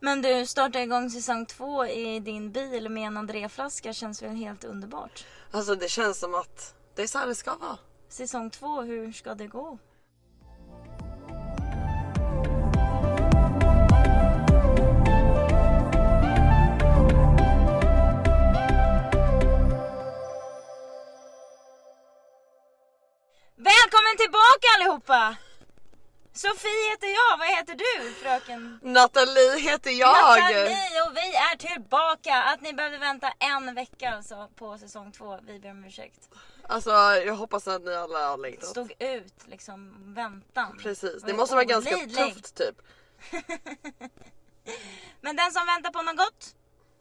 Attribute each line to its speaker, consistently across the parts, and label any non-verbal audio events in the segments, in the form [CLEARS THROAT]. Speaker 1: Men du, starta igång säsong två i din bil med en André-flaska känns väl helt underbart?
Speaker 2: Alltså det känns som att det är så här det ska vara.
Speaker 1: Säsong två, hur ska det gå? Välkommen tillbaka allihopa! Sofie heter jag, vad heter du fröken?
Speaker 2: Nathalie heter jag!
Speaker 1: Nathalie och vi är tillbaka! Att ni behövde vänta en vecka alltså på säsong två, vi ber om ursäkt.
Speaker 2: Alltså jag hoppas att ni alla har längtat.
Speaker 1: Stod ut liksom väntan.
Speaker 2: Precis,
Speaker 1: Var
Speaker 2: det måste vara ganska
Speaker 1: olidlig.
Speaker 2: tufft typ.
Speaker 1: Men den som väntar på något gott,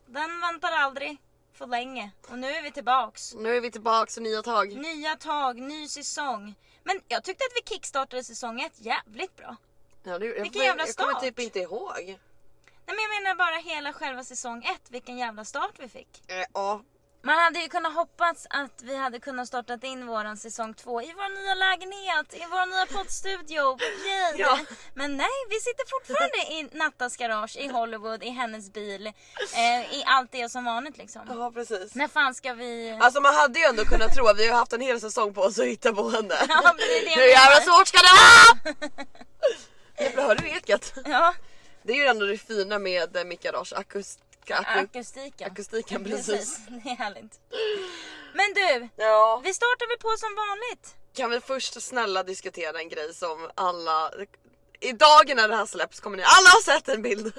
Speaker 1: den väntar aldrig för länge. Och nu är vi tillbaks.
Speaker 2: Nu är vi tillbaks och nya tag.
Speaker 1: Nya tag, ny säsong. Men jag tyckte att vi kickstartade säsong ett jävligt bra.
Speaker 2: Ja, det, jag,
Speaker 1: Vilken jävla
Speaker 2: jag kommer
Speaker 1: start.
Speaker 2: typ inte ihåg.
Speaker 1: Nej men jag menar bara hela själva säsong ett, vilken jävla start vi fick.
Speaker 2: Eh, Ja,
Speaker 1: Man hade ju kunnat hoppats att vi hade kunnat startat in våran säsong två i vår nya lägenhet, i vår nya poddstudio. Yay.
Speaker 2: Ja.
Speaker 1: Men nej, vi sitter fortfarande i Nattas garage, i Hollywood, i hennes bil. Eh, I allt det som vanligt liksom.
Speaker 2: ja precis.
Speaker 1: När fan ska vi...
Speaker 2: Alltså man hade ju ändå kunnat tro att vi har haft en hel säsong på oss att hitta på henne. [LAUGHS]
Speaker 1: Ja, men det är det
Speaker 2: Hur
Speaker 1: jag
Speaker 2: jävla
Speaker 1: menar.
Speaker 2: svårt ska det vara? [LAUGHS] Jävlar hörde du eket?
Speaker 1: Ja,
Speaker 2: Det är ju ändå det fina med eh, mitt garage. Akust... Aku...
Speaker 1: akustiken. [LAUGHS]
Speaker 2: Akustiken precis.
Speaker 1: Det är härligt. Men du,
Speaker 2: Ja.
Speaker 1: vi startar väl på som vanligt?
Speaker 2: Kan vi först snälla diskutera en grej som alla... I dagen när det här släpps kommer ni alla ha sett en bild.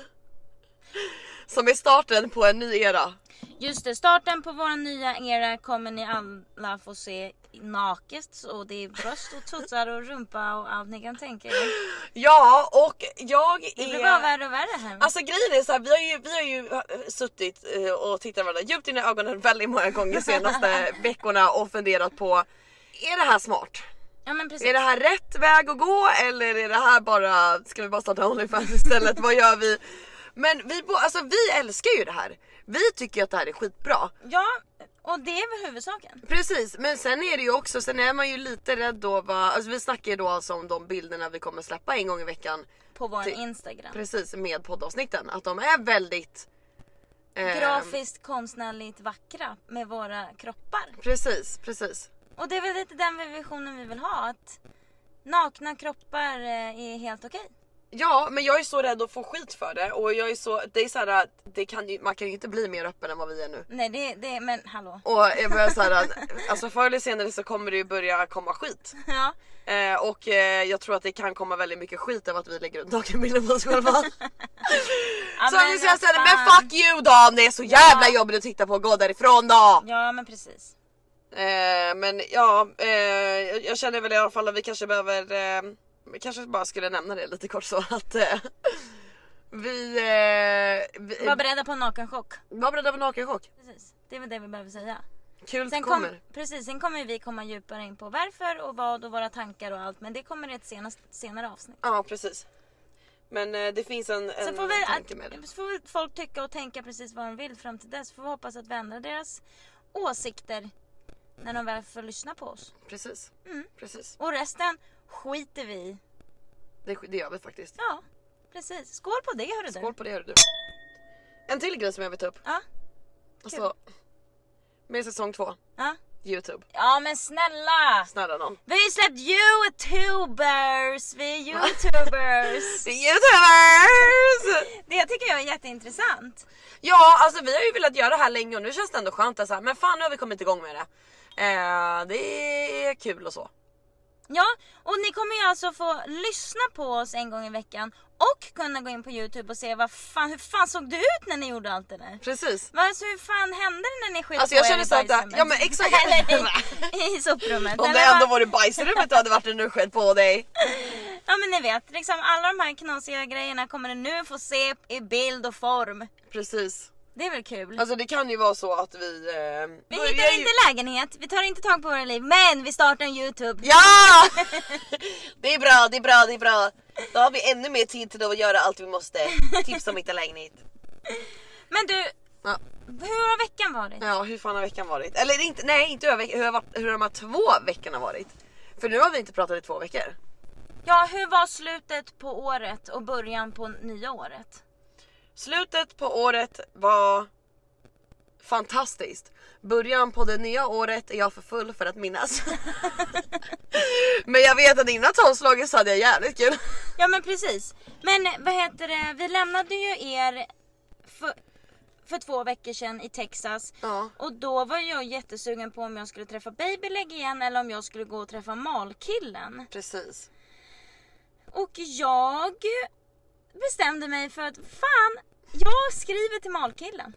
Speaker 2: Som är starten på en ny era.
Speaker 1: Just det, starten på vår nya era kommer ni alla få se naket. Och det är bröst och tuttar och rumpa och allt ni kan tänka er.
Speaker 2: Ja och jag är...
Speaker 1: Det blir bara värre och värre här.
Speaker 2: Alltså grejen är så här, vi har ju, vi har ju eh, suttit eh, och tittat varandra djupt in i ögonen väldigt många gånger de [LAUGHS] senaste veckorna och funderat på är det här smart?
Speaker 1: ja men precis.
Speaker 2: Är det här rätt väg att gå eller är det här bara, ska vi bara starta Onlyfans istället? Vad gör vi? Men vi, bo- alltså, vi älskar ju det här. Vi tycker ju att det här är skitbra.
Speaker 1: Ja, och det är väl huvudsaken.
Speaker 2: Precis, men sen är det ju också, sen är man ju lite rädd då vad, alltså vi snackar ju då alltså om de bilderna vi kommer släppa en gång i veckan.
Speaker 1: På vår
Speaker 2: Det-
Speaker 1: Instagram.
Speaker 2: Precis, med poddavsnitten. Att de är väldigt... ehm,
Speaker 1: Grafiskt, konstnärligt vackra med våra kroppar.
Speaker 2: Precis, precis.
Speaker 1: Och det är väl lite den visionen vi vill ha. Att nakna kroppar eh, är helt okej.
Speaker 2: Ja, men jag är så rädd att få skit för det och jag är så, det är så här, att det kan ju, man kan ju inte bli mer öppen än vad vi är nu.
Speaker 1: Nej, det, det, men hallå. [LAUGHS]
Speaker 2: Och jag börjar så här, att- alltså förr eller senare så kommer det ju börja komma skit.
Speaker 1: Ja.
Speaker 2: Eh, och eh, jag tror att det kan komma väldigt mycket skit av att vi lägger ut nakenbilder på oss själva.
Speaker 1: [LAUGHS] Ja,
Speaker 2: så vi säger
Speaker 1: vad
Speaker 2: såhär, men
Speaker 1: fan.
Speaker 2: fuck you då om det är så jävla jobbigt att titta på, gå därifrån då!
Speaker 1: Ja, men precis.
Speaker 2: Eh, men ja, eh, jag- jag känner väl i alla fall att vi kanske behöver, eh, vi kanske bara skulle nämna det lite kort så att eh, vi, eh, vi
Speaker 1: Var beredda på en nakenchock.
Speaker 2: var beredda på nakenchock.
Speaker 1: Precis. Det är väl det vi behöver säga.
Speaker 2: Kul
Speaker 1: Sen, kom,
Speaker 2: kommer.
Speaker 1: precis, sen kommer vi komma djupare in på varför och vad och våra tankar och allt. Men det kommer i ett senast, senare avsnitt.
Speaker 2: Ja precis. Men eh, det finns en, en
Speaker 1: Sen får, väl
Speaker 2: tanke med det.
Speaker 1: att, så får väl folk tycka och tänka precis vad de vill fram till dess. Får vi hoppas att vi ändrar deras åsikter när de väl får lyssna på oss.
Speaker 2: Precis.
Speaker 1: Mm.
Speaker 2: precis.
Speaker 1: Och resten skiter vi i.
Speaker 2: Det, det gör vi faktiskt.
Speaker 1: Ja, precis. Skål på det hörru
Speaker 2: Skål
Speaker 1: du.
Speaker 2: på det hörru du. En till grej som jag vill ta upp.
Speaker 1: Ja,
Speaker 2: Alltså, med säsong två,
Speaker 1: ja.
Speaker 2: Youtube.
Speaker 1: ja men snälla!
Speaker 2: Snälla någon.
Speaker 1: Vi har ju släppt youtubers! Vi är youtubers! [LAUGHS]
Speaker 2: Youtubers!
Speaker 1: det tycker jag är jätteintressant.
Speaker 2: Ja, alltså vi har ju velat göra det här länge och nu känns det ändå skönt att så här, men fan nu har vi kommit igång med det. Eh, det är kul och så.
Speaker 1: Ja, och ni kommer ju alltså få lyssna på oss en gång i veckan och kunna gå in på youtube och se vad fan, hur fan såg det ut när ni gjorde allt det där?
Speaker 2: Precis.
Speaker 1: Vad- Alltså hur fan hände det när ni sket
Speaker 2: Alltså
Speaker 1: på
Speaker 2: jag
Speaker 1: er
Speaker 2: känner
Speaker 1: i
Speaker 2: så att, det-
Speaker 1: bajsrummet?
Speaker 2: ja men
Speaker 1: [LAUGHS]
Speaker 2: exakt.
Speaker 1: Eller [LAUGHS] i, i soprummet.
Speaker 2: Om det
Speaker 1: Eller
Speaker 2: ändå
Speaker 1: vad-
Speaker 2: vore bajsrummet du hade varit i nu skett
Speaker 1: [LAUGHS]
Speaker 2: på dig.
Speaker 1: Ja men ni vet, liksom alla de här knasiga grejerna kommer ni nu få se i bild och form.
Speaker 2: Precis.
Speaker 1: Det är väl kul?
Speaker 2: Alltså det kan ju vara så att vi... Eh,
Speaker 1: vi
Speaker 2: börjar
Speaker 1: hittar
Speaker 2: ju-
Speaker 1: inte lägenhet, vi tar inte tag på våra liv, men vi startar en YouTube.
Speaker 2: Ja! [LAUGHS] Det är bra, det är bra, det är bra. Då har vi ännu mer tid till att göra allt vi måste. Tips om hitta lägenhet.
Speaker 1: Men du,
Speaker 2: Ja.
Speaker 1: hur har veckan varit?
Speaker 2: ja, hur fan har veckan varit? Eller inte, nej, inte hur, har veck- hur, har, varit- hur har de här två veckorna varit? För nu har vi inte pratat i två veckor.
Speaker 1: Ja, hur var slutet på året och början på nya året?
Speaker 2: Slutet på året var fantastiskt. Början på det nya året är jag för full för att minnas. [LAUGHS] Men jag vet att innan tolvslaget så hade jag jävligt kul.
Speaker 1: Ja men precis. Men eh, vad heter det, vi lämnade ju er för, för två veckor sedan i Texas.
Speaker 2: Ja.
Speaker 1: Och då var jag jättesugen på om jag skulle träffa Babyleg igen eller om jag skulle gå och träffa Malkillen.
Speaker 2: Precis.
Speaker 1: Och jag bestämde mig för att fan, jag skriver till Malkillen.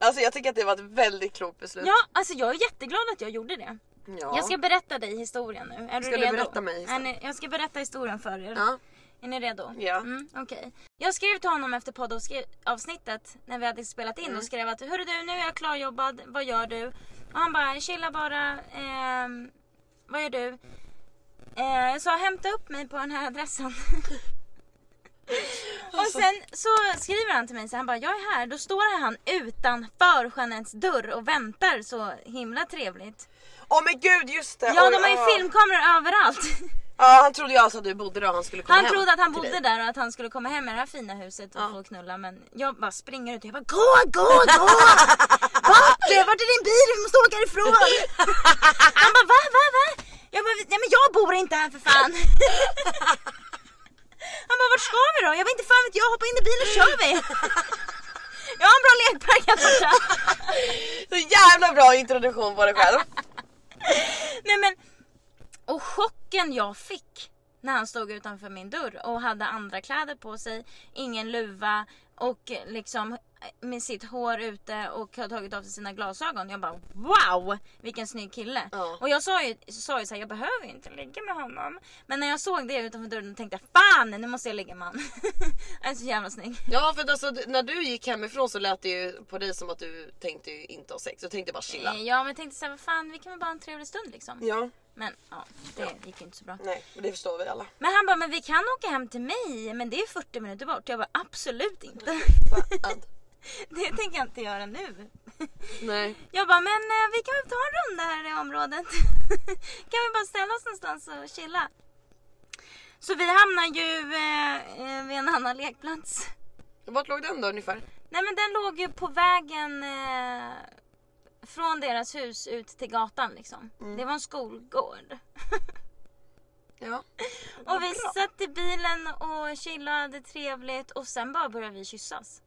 Speaker 2: Alltså jag tycker att det var ett väldigt klokt beslut.
Speaker 1: Ja, alltså jag är jätteglad att jag gjorde det. Jag ska berätta dig historien nu. Är
Speaker 2: Ska
Speaker 1: du
Speaker 2: du
Speaker 1: redo?
Speaker 2: berätta mig
Speaker 1: är
Speaker 2: historien?
Speaker 1: ni, Jag ska berätta historien för er.
Speaker 2: Ja.
Speaker 1: Är ni redo?
Speaker 2: Ja.
Speaker 1: Mm, okej. Jag skrev till honom efter poddavsnittet när vi hade spelat in
Speaker 2: Mm.
Speaker 1: och skrev att Hörru du, nu är jag klarjobbad, vad gör du? Och han bara, chilla bara, ehm, vad gör du? Eh, jag sa hämta upp mig på den här
Speaker 2: [LAUGHS]
Speaker 1: adressen. och sen så skriver han till mig så han bara, jag är här. Då står han utanför Jeanettes dörr och väntar så himla trevligt.
Speaker 2: Åh men gud just det!
Speaker 1: Ja,
Speaker 2: Oj,
Speaker 1: de har
Speaker 2: ja.
Speaker 1: ju filmkameror överallt.
Speaker 2: Ja han trodde ju alltså att du bodde där och han skulle komma
Speaker 1: Han
Speaker 2: hem
Speaker 1: trodde att han
Speaker 2: till
Speaker 1: bodde
Speaker 2: dig.
Speaker 1: där och att han skulle komma hem i det här fina huset och
Speaker 2: Ja.
Speaker 1: få knulla men jag bara springer ut och jag bara gå, gå,
Speaker 2: [LAUGHS]
Speaker 1: gå! Vart är, vart är din bil? Vi måste åka
Speaker 2: [LAUGHS]
Speaker 1: ifrån! Han bara va, va, va? Jag bara, nej men jag bor inte här för fan! [LAUGHS] Han bara vart ska vi då? Jag vet inte fan vet jag, hoppa in i bilen och kör
Speaker 2: [LAUGHS]
Speaker 1: vi! Jag har en bra lekpark här borta!
Speaker 2: Så jävla bra introduktion på dig själv.
Speaker 1: Nej men, och chocken jag fick när han stod utanför min dörr och hade andra kläder på sig, ingen luva och liksom med sitt hår ute och har tagit av sig sina glasögon. Jag bara wow vilken snygg kille.
Speaker 2: Ja.
Speaker 1: Och jag sa ju, sa ju så här, jag behöver ju inte ligga med honom. Men när jag såg det utanför dörren tänkte jag fan nu måste jag ligga med honom. Han [LAUGHS] är så jävla snygg.
Speaker 2: [LAUGHS] Ja för att alltså, d- när du gick hemifrån så lät det ju på dig som att du tänkte ju inte ha sex, du tänkte bara chilla.
Speaker 1: Eh, Ja men jag tänkte såhär, vad fan vi kan väl bara ha en trevlig stund liksom.
Speaker 2: Ja,
Speaker 1: Men ja, det gick ju inte så bra.
Speaker 2: nej men det förstår vi alla.
Speaker 1: Men han bara, men vi kan åka hem till mig, men det är 40 minuter bort. Jag bara, absolut inte. [LAUGHS]
Speaker 2: Fan.
Speaker 1: Det tänker jag inte göra nu.
Speaker 2: [LAUGHS] nej.
Speaker 1: Jag bara, men eh, vi kan väl ta en runda här i området. [LAUGHS] Kan vi bara ställa oss någonstans och chilla? Så vi hamnar ju eh, eh, vid en annan lekplats.
Speaker 2: Vart låg den då ungefär?
Speaker 1: Nej men den låg ju på vägen eh, från deras hus ut till gatan liksom. Det var en skolgård.
Speaker 2: Ja.
Speaker 1: Och vi satt i bilen och chillade trevligt och sen bara började vi kyssas.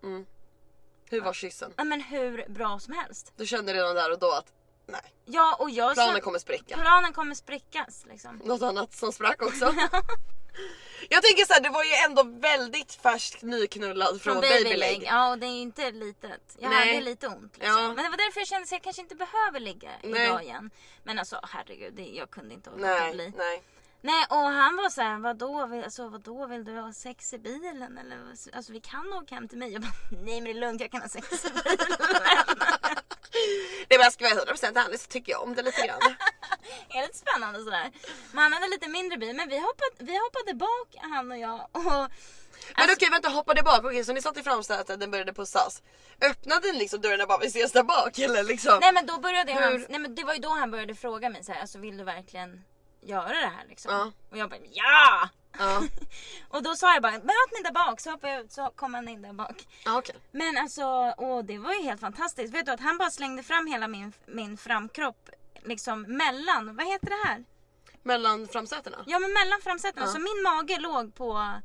Speaker 2: Hur var kyssen?
Speaker 1: Ja men hur bra som helst.
Speaker 2: Du kände redan där och då att nej,
Speaker 1: Ja och jag
Speaker 2: planen
Speaker 1: kände-
Speaker 2: kommer spricka.
Speaker 1: planen kommer sprickas liksom.
Speaker 2: Något annat som
Speaker 1: [LAUGHS]
Speaker 2: sprack också. Jag tänker såhär, du var ju ändå väldigt färskt nyknullad från, Babyleg.
Speaker 1: Ja och det är ju inte litet. Jag
Speaker 2: Nej.
Speaker 1: hade lite ont liksom.
Speaker 2: Ja.
Speaker 1: Men det var därför jag kände att jag kanske inte behöver ligga
Speaker 2: Nej.
Speaker 1: idag igen. Men alltså herregud, det, jag kunde inte orka
Speaker 2: Nej,
Speaker 1: bli.
Speaker 2: nej.
Speaker 1: Nej och han var såhär, vadå, vill- alltså, vadå vill du ha sex i bilen? Eller, vad- alltså vi kan åka hem till mig. Jag bara, [LAUGHS] nej men det är lugnt jag kan ha sex [LAUGHS] i bilen.
Speaker 2: Det är bara ska vara 100% ärlig så tycker jag om det
Speaker 1: [LAUGHS]
Speaker 2: lite grann.
Speaker 1: är lite spännande sådär. Men han hade lite mindre bil men vi hoppade, vi hoppade bak han och jag. Och
Speaker 2: Men okej vänta hoppade bak, okej så ni satt i framsätet, den började pussas. Öppnade den liksom dörren och bara vi ses där bak eller liksom?
Speaker 1: Nej men då började han,
Speaker 2: Hur-
Speaker 1: nej men det var ju då han började fråga mig så här, alltså vill du verkligen göra det här liksom?
Speaker 2: Ja.
Speaker 1: Och jag bara ja!
Speaker 2: Ja,
Speaker 1: Och då sa jag bara möt mig där bak så hoppade jag ut så kom han in där bak.
Speaker 2: ja okej.
Speaker 1: Men alltså åh, det var ju helt fantastiskt. Vet du att han bara slängde fram hela min, min framkropp liksom mellan, vad heter det här?
Speaker 2: Mellan framsätena?
Speaker 1: Ja men mellan framsätena.
Speaker 2: Ja.
Speaker 1: Så min mage låg på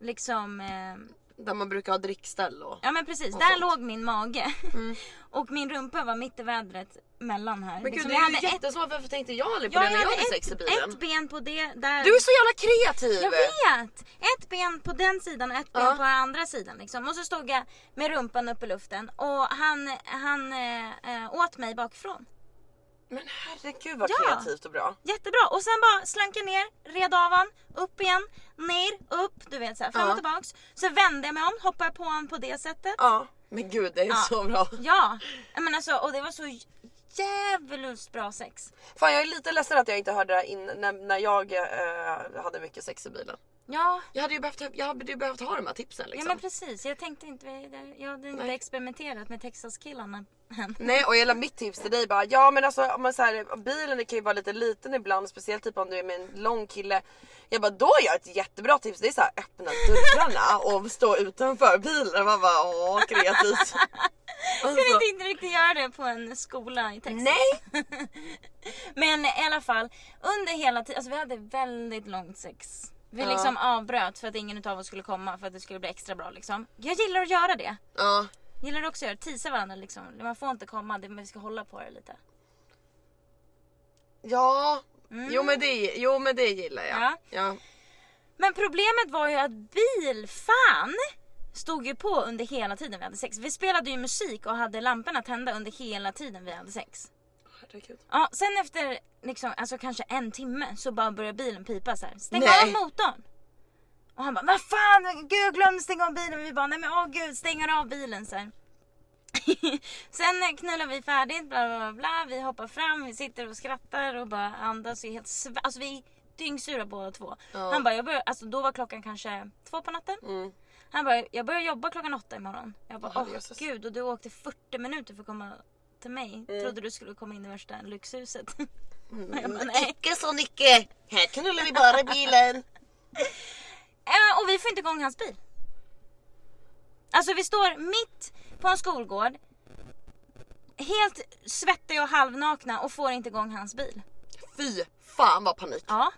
Speaker 1: liksom eh,
Speaker 2: Där man brukar ha drickställ och...
Speaker 1: Ja men precis,
Speaker 2: Och
Speaker 1: där
Speaker 2: sånt.
Speaker 1: låg min mage.
Speaker 2: Mm.
Speaker 1: [LAUGHS] Och min rumpa var mitt i vädret mellan här.
Speaker 2: Men gud
Speaker 1: Liksom,
Speaker 2: det
Speaker 1: jag
Speaker 2: är
Speaker 1: hade
Speaker 2: ju
Speaker 1: ett,
Speaker 2: jättesmart, varför tänkte jag aldrig på
Speaker 1: ja,
Speaker 2: det när jag
Speaker 1: hade
Speaker 2: hade
Speaker 1: ett,
Speaker 2: sex i bilen?
Speaker 1: ett ben på det där.
Speaker 2: Du är så jävla kreativ!
Speaker 1: Jag vet! Ett ben på den sidan och ett ben
Speaker 2: Ja.
Speaker 1: på andra sidan. Liksom. Och så stod jag med rumpan upp i luften och han, han eh, eh, åt mig bakifrån.
Speaker 2: Men herregud vad
Speaker 1: Ja.
Speaker 2: kreativt och bra.
Speaker 1: Jättebra! Och sen bara slank jag ner, red av han, upp igen, ner, upp, du vet så här, fram
Speaker 2: Ja.
Speaker 1: och tillbaks. Så vände jag mig om, hoppade på honom på det sättet.
Speaker 2: Ja. Men gud det är så bra.
Speaker 1: Ja, men alltså, och det var så djävuluskt bra sex.
Speaker 2: Fan jag är lite ledsen att jag inte hörde det här in, när, när jag eh, hade mycket sex i bilen.
Speaker 1: Ja,
Speaker 2: Jag hade ju behövt, jag hade ju behövt ha de här tipsen
Speaker 1: ja
Speaker 2: liksom.
Speaker 1: men precis. Jag tänkte inte, jag hade inte
Speaker 2: Nej.
Speaker 1: experimenterat med Texas-killarna än.
Speaker 2: Nej och hela mitt tips till dig bara, ja men alltså om man så här, bilen det kan ju vara lite liten ibland, speciellt typ om du är med en lång kille. Jag bara, då är jag ett jättebra tips, det är så här, öppna dörrarna och stå utanför bilen. Man bara, åh
Speaker 1: [LAUGHS]
Speaker 2: kreativt.
Speaker 1: Jag
Speaker 2: Alltså,
Speaker 1: tänkte inte riktigt göra det på en skola i Texas.
Speaker 2: nej!
Speaker 1: Men i alla fall, under hela tiden, alltså vi hade väldigt långt sex. Vi
Speaker 2: Ja.
Speaker 1: liksom avbröt för att ingen utav oss skulle komma för att det skulle bli extra bra liksom. Jag gillar att göra det.
Speaker 2: Ja,
Speaker 1: Gillar du också att göra det? Teasa varandra liksom. Man får inte komma, det- men vi ska hålla på det lite.
Speaker 2: ja. Jo, men det, jo men det gillar jag.
Speaker 1: Mm. Ja.
Speaker 2: Ja.
Speaker 1: Men problemet var ju att bilfan stod ju på under hela tiden vi hade sex. Vi spelade ju musik och hade lamporna tända under hela tiden vi hade sex.
Speaker 2: Herregud.
Speaker 1: Ja, sen efter liksom, alltså kanske en timme så bara börjar bilen pipa så här. Stäng
Speaker 2: Nej.
Speaker 1: av motorn! Och han bara, vad fan, gud jag glömde stänga av bilen. Vi bara, nej men åh gud, stänger av bilen så här. [LAUGHS] sen knullar vi färdigt, bla bla bla, bla. Vi hoppar fram, vi sitter och skrattar och bara andas. Vi är helt sv- alltså vi är dyngsura båda två.
Speaker 2: Ja.
Speaker 1: Han bara, jag börjar, alltså då var klockan kanske två på natten.
Speaker 2: Mm.
Speaker 1: Han bara, jag börjar jobba klockan åtta imorgon. Jag bara,
Speaker 2: Åh,
Speaker 1: åh
Speaker 2: Jesus.
Speaker 1: gud och du åkte 40 minuter för att komma till mig.
Speaker 2: Mm.
Speaker 1: Trodde du skulle komma in i värsta lyxhuset. [LAUGHS] jag bara, nej.
Speaker 2: Icke så Nicke! Här knullar vi bara i bilen.
Speaker 1: Äh, och vi får inte igång hans bil. Alltså vi står mitt på en skolgård. Helt svettiga och halvnakna och får inte igång hans bil.
Speaker 2: Fy fan vad panik.
Speaker 1: Ja.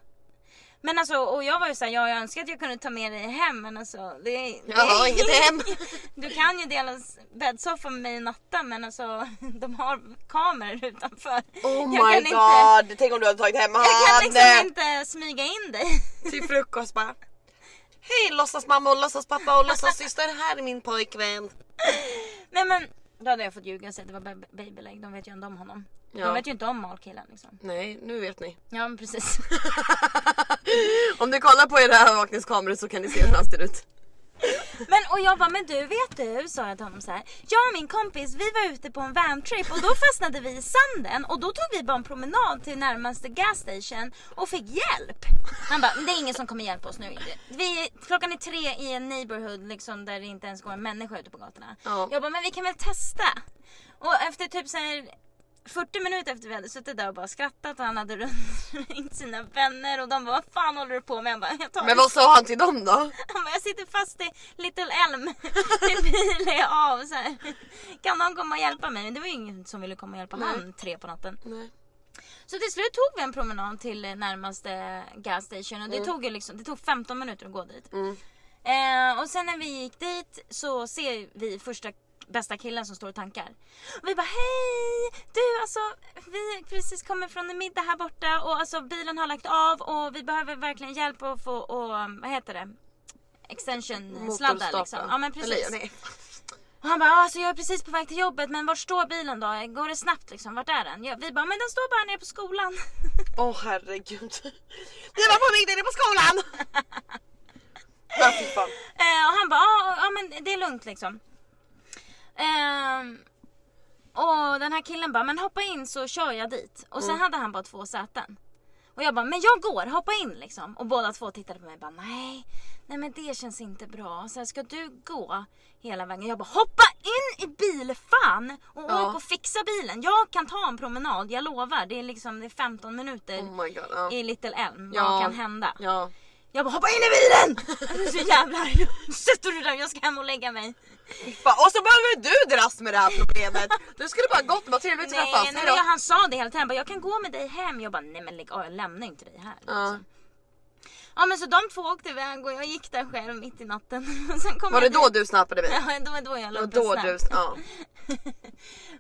Speaker 1: Men alltså, och jag var ju såhär, ja, jag önskar att jag kunde ta med dig hem men alltså det är...
Speaker 2: Jag har inget hem.
Speaker 1: [LAUGHS] Du kan ju dela s- bäddsoffa med mig i natten men alltså [LAUGHS] de har kameror utanför.
Speaker 2: Oh
Speaker 1: jag
Speaker 2: my
Speaker 1: kan Inte,
Speaker 2: god, tänk om du hade tagit hem
Speaker 1: jag kan liksom
Speaker 2: handen.
Speaker 1: inte smyga in dig. [LAUGHS]
Speaker 2: Till frukost bara. Hej låtsas mamma och låtsas pappa och låtsas syster, här är min pojkvän.
Speaker 1: Nej men då hade jag fått ljuga och säga att det var ba- babyleg, de vet ju inte om honom.
Speaker 2: Ja.
Speaker 1: De vet ju inte om malkillen liksom.
Speaker 2: Nej, nu vet ni.
Speaker 1: Ja men precis.
Speaker 2: [LAUGHS] Om du kollar på era övervakningskameror så kan ni se hur han ser ut.
Speaker 1: Men och jag bara, men du vet du, sa jag till honom så här. Jag och min kompis, vi var ute på en vantrip och då fastnade vi i sanden och då tog vi bara en promenad till närmaste gasstation och fick hjälp. Han bara, men det är ingen som kommer hjälpa oss nu. Vi, klockan är tre i en neighborhood liksom där det inte ens går en människa ute på gatorna.
Speaker 2: Ja.
Speaker 1: Jag bara, men vi kan väl testa. Och efter typ så här 40 minuter efter vi hade suttit där och bara skrattat och han hade runt [LAUGHS] sina vänner och de bara, vad fan håller du på med? Jag bara, jag tar
Speaker 2: Men vad sa han till dem då?
Speaker 1: [LAUGHS] han bara, jag sitter fast i Little Elm. [LAUGHS] Min bil är av. Så här. Kan någon komma och hjälpa mig? Men det var ju ingen som ville komma och hjälpa
Speaker 2: Nej.
Speaker 1: han tre på natten.
Speaker 2: Nej.
Speaker 1: Så till slut tog vi en promenad till eh, närmaste gas station och det, tog ju liksom, det tog 15 minuter att gå dit.
Speaker 2: Mm.
Speaker 1: Eh, och sen när vi gick dit så ser vi första bästa killen som står och tankar. Och vi bara hej! Du alltså, vi precis kommer från en middag här borta och alltså bilen har lagt av och vi behöver verkligen hjälp att få, och, vad heter det? Extension-sladdar liksom.
Speaker 2: Motorstolpar.
Speaker 1: Ja men precis.
Speaker 2: Eller, nej.
Speaker 1: Och han bara, alltså jag är precis på väg till jobbet men vart står bilen då? Går det snabbt liksom? Vart är den? Ja, vi bara, men den står bara nere på skolan. [LAUGHS]
Speaker 2: Åh herregud. Ni var på väg nere på skolan! [LAUGHS] Ja, fy fan.
Speaker 1: Eh, och han bara, ja, ja men det är lugnt liksom. Ehm, och den här killen bara, men hoppa in så kör jag dit. Och sen
Speaker 2: Mm.
Speaker 1: hade han bara två säten. Och jag bara, men jag går, hoppa in liksom. Och båda två tittade på mig och bara, nej, nej men det känns inte bra. Så här, ska du gå hela vägen? Jag bara, hoppa in i bilfan och
Speaker 2: Ja.
Speaker 1: åk och fixa bilen. Jag kan ta en promenad, jag lovar. Det är liksom det är 15 minuter
Speaker 2: Oh my god. Ja.
Speaker 1: i Little Elm,
Speaker 2: Ja.
Speaker 1: vad kan hända?
Speaker 2: ja.
Speaker 1: Jag bara hoppa in i bilen! [LAUGHS] Jag är så jävla arg. Nu Sätter du där, jag ska hem och lägga mig.
Speaker 2: Fan. Och så behöver du dras med det här problemet. Du skulle bara gått, vad trevligt att
Speaker 1: Nej,
Speaker 2: träffas.
Speaker 1: nej, men
Speaker 2: Hejdå.
Speaker 1: jag, han sa det hela tiden, Han bara, jag kan gå med dig hem. Jag bara nej men lägg av, jag lämnar inte dig här.
Speaker 2: Ja.
Speaker 1: Ja men så de två åkte iväg och jag gick där själv mitt i natten. [LAUGHS] Och sen kom
Speaker 2: Var det
Speaker 1: jag
Speaker 2: då du snappade mig?
Speaker 1: dit. Ja, det var då jag la
Speaker 2: Det var
Speaker 1: upp en
Speaker 2: då
Speaker 1: snap.
Speaker 2: du... Ja.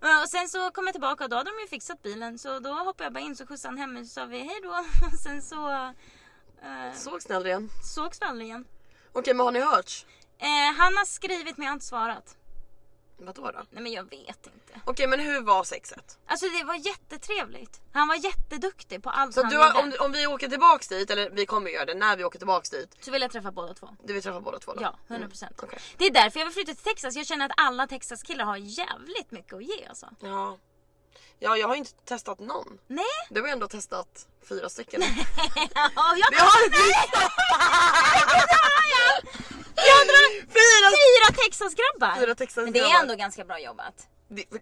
Speaker 1: Ja, Och sen så kom jag tillbaka och då hade de ju fixat bilen så då hoppade jag bara in så skjutsade han hem mig så sa vi hej då. [LAUGHS] Och sen så eh,
Speaker 2: Sågs ni aldrig igen?
Speaker 1: sågs vi aldrig igen.
Speaker 2: Okej men har ni hört?
Speaker 1: Eh, han har skrivit men jag har inte svarat.
Speaker 2: Vadå då?
Speaker 1: Nej men jag vet inte.
Speaker 2: Okej men hur var sexet?
Speaker 1: Alltså det var jättetrevligt. Han var jätteduktig på allt
Speaker 2: Så
Speaker 1: han
Speaker 2: du
Speaker 1: gjorde.
Speaker 2: har, om, om vi åker tillbaks dit, eller vi kommer göra det när vi åker tillbaks dit.
Speaker 1: Så vill jag träffa båda två.
Speaker 2: Du vill träffa båda två då?
Speaker 1: Ja, 100%. procent.
Speaker 2: Okej.
Speaker 1: Det är därför jag vill flytta till Texas. Jag känner att alla Texas-killar har jävligt mycket att ge alltså.
Speaker 2: Ja. Ja, jag har ju inte testat någon.
Speaker 1: Nej!
Speaker 2: Du har ju ändå testat
Speaker 1: [LAUGHS]
Speaker 2: fyra stycken.
Speaker 1: Ja, jag,
Speaker 2: Vi har
Speaker 1: [LAUGHS] jag drar
Speaker 2: fyra,
Speaker 1: fyra Texasgrabbar!
Speaker 2: fyra texter.
Speaker 1: Men det är ändå ganska bra jobbat.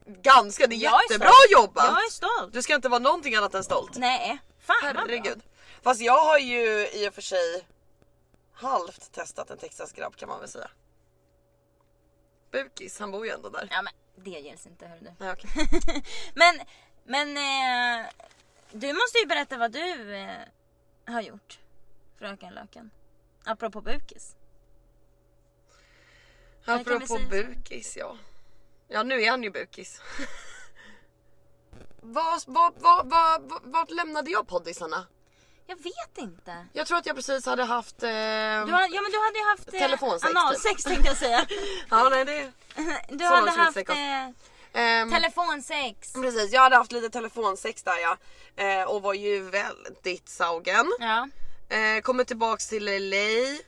Speaker 2: ganska, det är
Speaker 1: Jag är
Speaker 2: jättebra
Speaker 1: stolt.
Speaker 2: jobbat!
Speaker 1: Jag är stolt.
Speaker 2: Du ska inte vara någonting annat än stolt.
Speaker 1: Nej, fan vad bra.
Speaker 2: Herregud. Fast jag har ju i och för sig halvt testat en Texas-grabb kan man väl säga. Bukis, han bor ju ändå där.
Speaker 1: Ja men det gills inte hörru du.
Speaker 2: Nej, okej.
Speaker 1: Men, men eh, du måste ju berätta vad du eh, har gjort. Fröken Löken. Apropå bukis. kan vi
Speaker 2: Apropå
Speaker 1: säga så.
Speaker 2: bukis ja. Ja nu är han ju bukis. [LAUGHS] Vad vad- vad- vad- vad- Vart lämnade jag poddisarna?
Speaker 1: Jag vet inte.
Speaker 2: Jag tror att jag precis hade haft... Eh...
Speaker 1: Du, har, ja, men du hade ju haft eh,
Speaker 2: Telefonsex, typ.
Speaker 1: analsex tänkte jag
Speaker 2: [LAUGHS]
Speaker 1: säga.
Speaker 2: Ja nej det...
Speaker 1: Du
Speaker 2: Så
Speaker 1: hade
Speaker 2: långt
Speaker 1: haft
Speaker 2: ska vi inte
Speaker 1: eh,
Speaker 2: Ehm,
Speaker 1: telefonsex.
Speaker 2: precis, jag hade haft lite telefonsex där ja. Eh, och var ju väldigt saugen.
Speaker 1: Ja.
Speaker 2: Eh, kommer tillbaks till LA.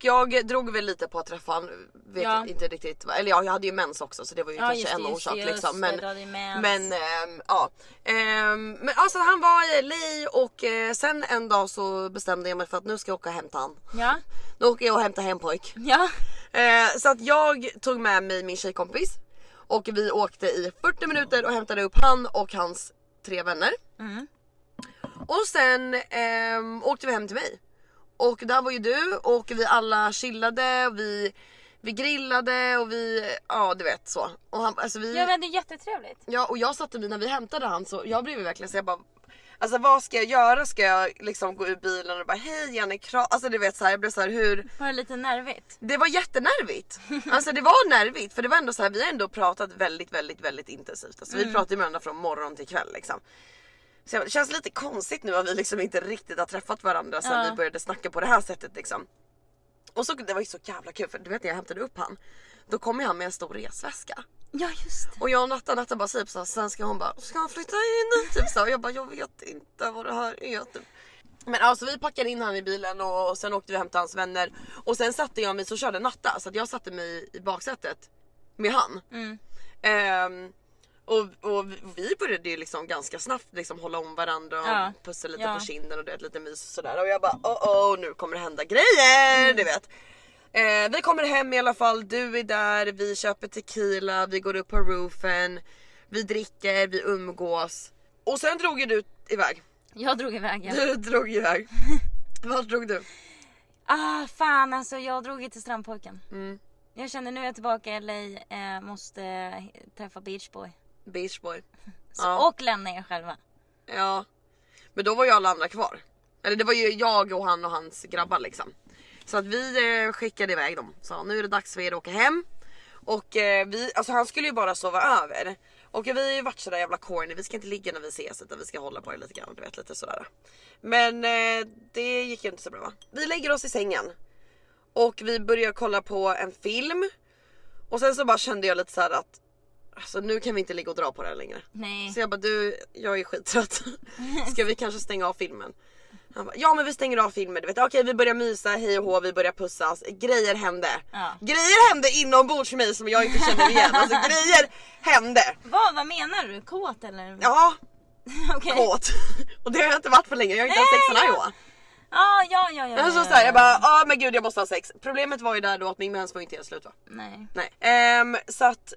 Speaker 2: Jag drog väl lite på att träffa han, vet
Speaker 1: Ja.
Speaker 2: inte riktigt. va- Eller ja, jag hade ju mens också så det var ju kanske en orsak liksom. Men,
Speaker 1: det, du hade ju mens.
Speaker 2: men ehm, ja. Ehm, men alltså han var i LA och eh, sen en dag så bestämde jag mig för att nu ska jag åka och hämta han.
Speaker 1: Ja.
Speaker 2: Nu åker jag och hämtar hem pojk.
Speaker 1: Ja.
Speaker 2: Eh, så att jag tog med mig min tjejkompis och vi åkte i 40 minuter och hämtade upp han och hans tre vänner.
Speaker 1: Mm.
Speaker 2: Och sen ehm, åkte vi hem till mig. Och där var ju du och vi alla chillade och vi, vi grillade och vi, ja du vet så. Och han, alltså vi,
Speaker 1: ja men det är jättetrevligt.
Speaker 2: Ja och jag satte mig när vi hämtade han så jag blev ju verkligen så jag bara Alltså vad ska jag göra? Ska jag liksom gå ur bilen och bara hej Jenny kram? Alltså du vet så här, jag blev så här hur
Speaker 1: Var det lite nervigt?
Speaker 2: det var jättenervigt. Alltså det var nervigt för det var ändå så här, vi har ändå pratat väldigt, väldigt, väldigt intensivt. Alltså vi pratar ju med varandra från morgon till kväll liksom. Så jag- det känns lite konstigt nu att vi liksom inte riktigt har träffat varandra sen
Speaker 1: Ja.
Speaker 2: vi började snacka på det här sättet liksom. Och så, det var ju så jävla kul för du vet när jag hämtade upp han, då kom ju han med en stor resväska.
Speaker 1: Ja just det.
Speaker 2: Och jag och Natta, Natta bara säger så här, sen ska hon bara, ska han flytta in? Typ så här. Och jag bara, jag vet inte vad det här är. Typ. Men alltså vi packade in han i bilen och, och sen åkte vi hem till hans vänner. Och sen satte jag mig, så körde Natta, så att jag satte mig i baksätet med han.
Speaker 1: Mm.
Speaker 2: Ehm, och, och vi- vi började ju liksom ganska snabbt liksom hålla om varandra och
Speaker 1: Ja.
Speaker 2: pussa lite
Speaker 1: Ja.
Speaker 2: på kinden och du vet, lite mys och sådär. Och jag bara oh oh nu kommer det hända grejer
Speaker 1: Mm.
Speaker 2: du vet. Eh, vi kommer hem i alla fall, du är där, vi köper tequila, vi går upp på roofen, vi dricker, vi umgås. Och sen drog ju du iväg.
Speaker 1: Jag drog iväg ja.
Speaker 2: [LAUGHS] Du drog ju iväg. Vart drog du?
Speaker 1: Ah fan alltså jag drog ju till strandpojken.
Speaker 2: Mm.
Speaker 1: Jag känner nu är jag tillbaka i LA, eh, måste eh, träffa Beach Boy.
Speaker 2: Beach boy.
Speaker 1: Så,
Speaker 2: Ja.
Speaker 1: Och lämna er själva.
Speaker 2: Ja. Men då var ju alla andra kvar. Eller det var ju jag och han och hans grabbar liksom. Så att vi eh, skickade iväg dem. Sa nu är det dags för er att åka hem. Och eh, vi, alltså han skulle ju bara sova över. Och vi har ju varit sådär jävla corny, vi ska inte ligga när vi ses utan vi ska hålla på det lite grann. Du vet lite sådär. Men eh, det gick ju inte så bra va? Vi lägger oss i sängen. Och vi börjar kolla på en film. Och sen så bara kände jag lite såhär att Alltså nu kan vi inte ligga och dra på det här längre.
Speaker 1: Nej.
Speaker 2: Så jag bara du, jag är skittrött. [LAUGHS] Ska vi kanske stänga av filmen? Han bara, ja men vi stänger av filmen. Du vet, okej vi börjar mysa, hej och hå, vi börjar pussas. Grejer hände.
Speaker 1: Ja.
Speaker 2: Grejer hände inombords för mig som jag inte
Speaker 1: [LAUGHS]
Speaker 2: känner igen. Alltså grejer hände.
Speaker 1: Vad, vad menar du? Kåt eller?
Speaker 2: Ja,
Speaker 1: [LAUGHS] Okej.
Speaker 2: kåt. [LAUGHS] Och det har jag inte varit på länge, jag har inte haft sex sen
Speaker 1: Nej,
Speaker 2: Iowa.
Speaker 1: ja. Ah, ja, ja, ja, ja.
Speaker 2: Jag
Speaker 1: ja,
Speaker 2: så såhär,
Speaker 1: ja.
Speaker 2: jag bara, ja men gud jag måste ha sex. Problemet var ju där då att min mens var inte helt slut va?
Speaker 1: Nej.
Speaker 2: Nej. Ehm, så att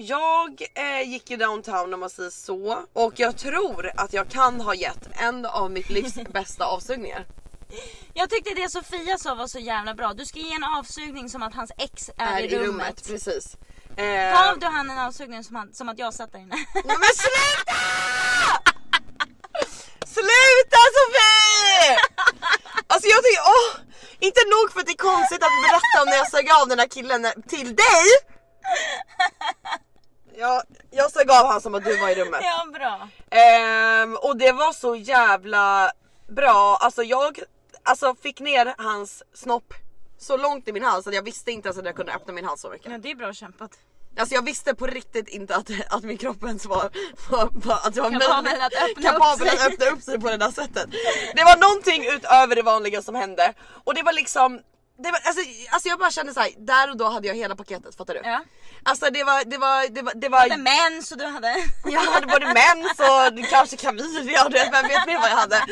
Speaker 2: jag eh, gick ju downtown om man säger så. Och jag tror att jag kan ha gett en av
Speaker 1: [LAUGHS]
Speaker 2: mitt livs bästa avsugningar.
Speaker 1: Jag tyckte det Sofia sa var så jävla bra. Du ska ge en avsugning som att hans ex är, i rummet.
Speaker 2: Precis. Ehm,
Speaker 1: Gav du han en avsugning som, han, som att jag satt där inne? [LAUGHS]
Speaker 2: Nej men sluta! sluta Sofie! Alltså jag tycker, åh! Inte nog för att det är konstigt att berätta om när jag sög av den här killen när- till dig. Jag, jag sög av han som att du var i rummet.
Speaker 1: ja, bra.
Speaker 2: Ehm, och det var så jävla bra. Alltså jag alltså fick ner hans snopp så långt i min hals att jag visste inte ens att jag kunde öppna min hals så mycket.
Speaker 1: Ja, det är bra kämpat.
Speaker 2: Alltså jag visste på riktigt inte att, att min kropp ens var, var, var att jag var
Speaker 1: Kapabel
Speaker 2: möjlig-
Speaker 1: att öppna upp
Speaker 2: kapabel
Speaker 1: sig.
Speaker 2: att öppna upp sig på det där sättet. Det var någonting utöver det vanliga som hände och det var liksom det var, alltså, alltså jag bara kände såhär, där och då hade jag hela paketet fattar du?
Speaker 1: Ja.
Speaker 2: Alltså det var, det var, det var, det
Speaker 1: Du hade
Speaker 2: var
Speaker 1: mens och du hade...
Speaker 2: jag hade både mens och kanske kavir, jag vet, vem vet mer vad jag hade?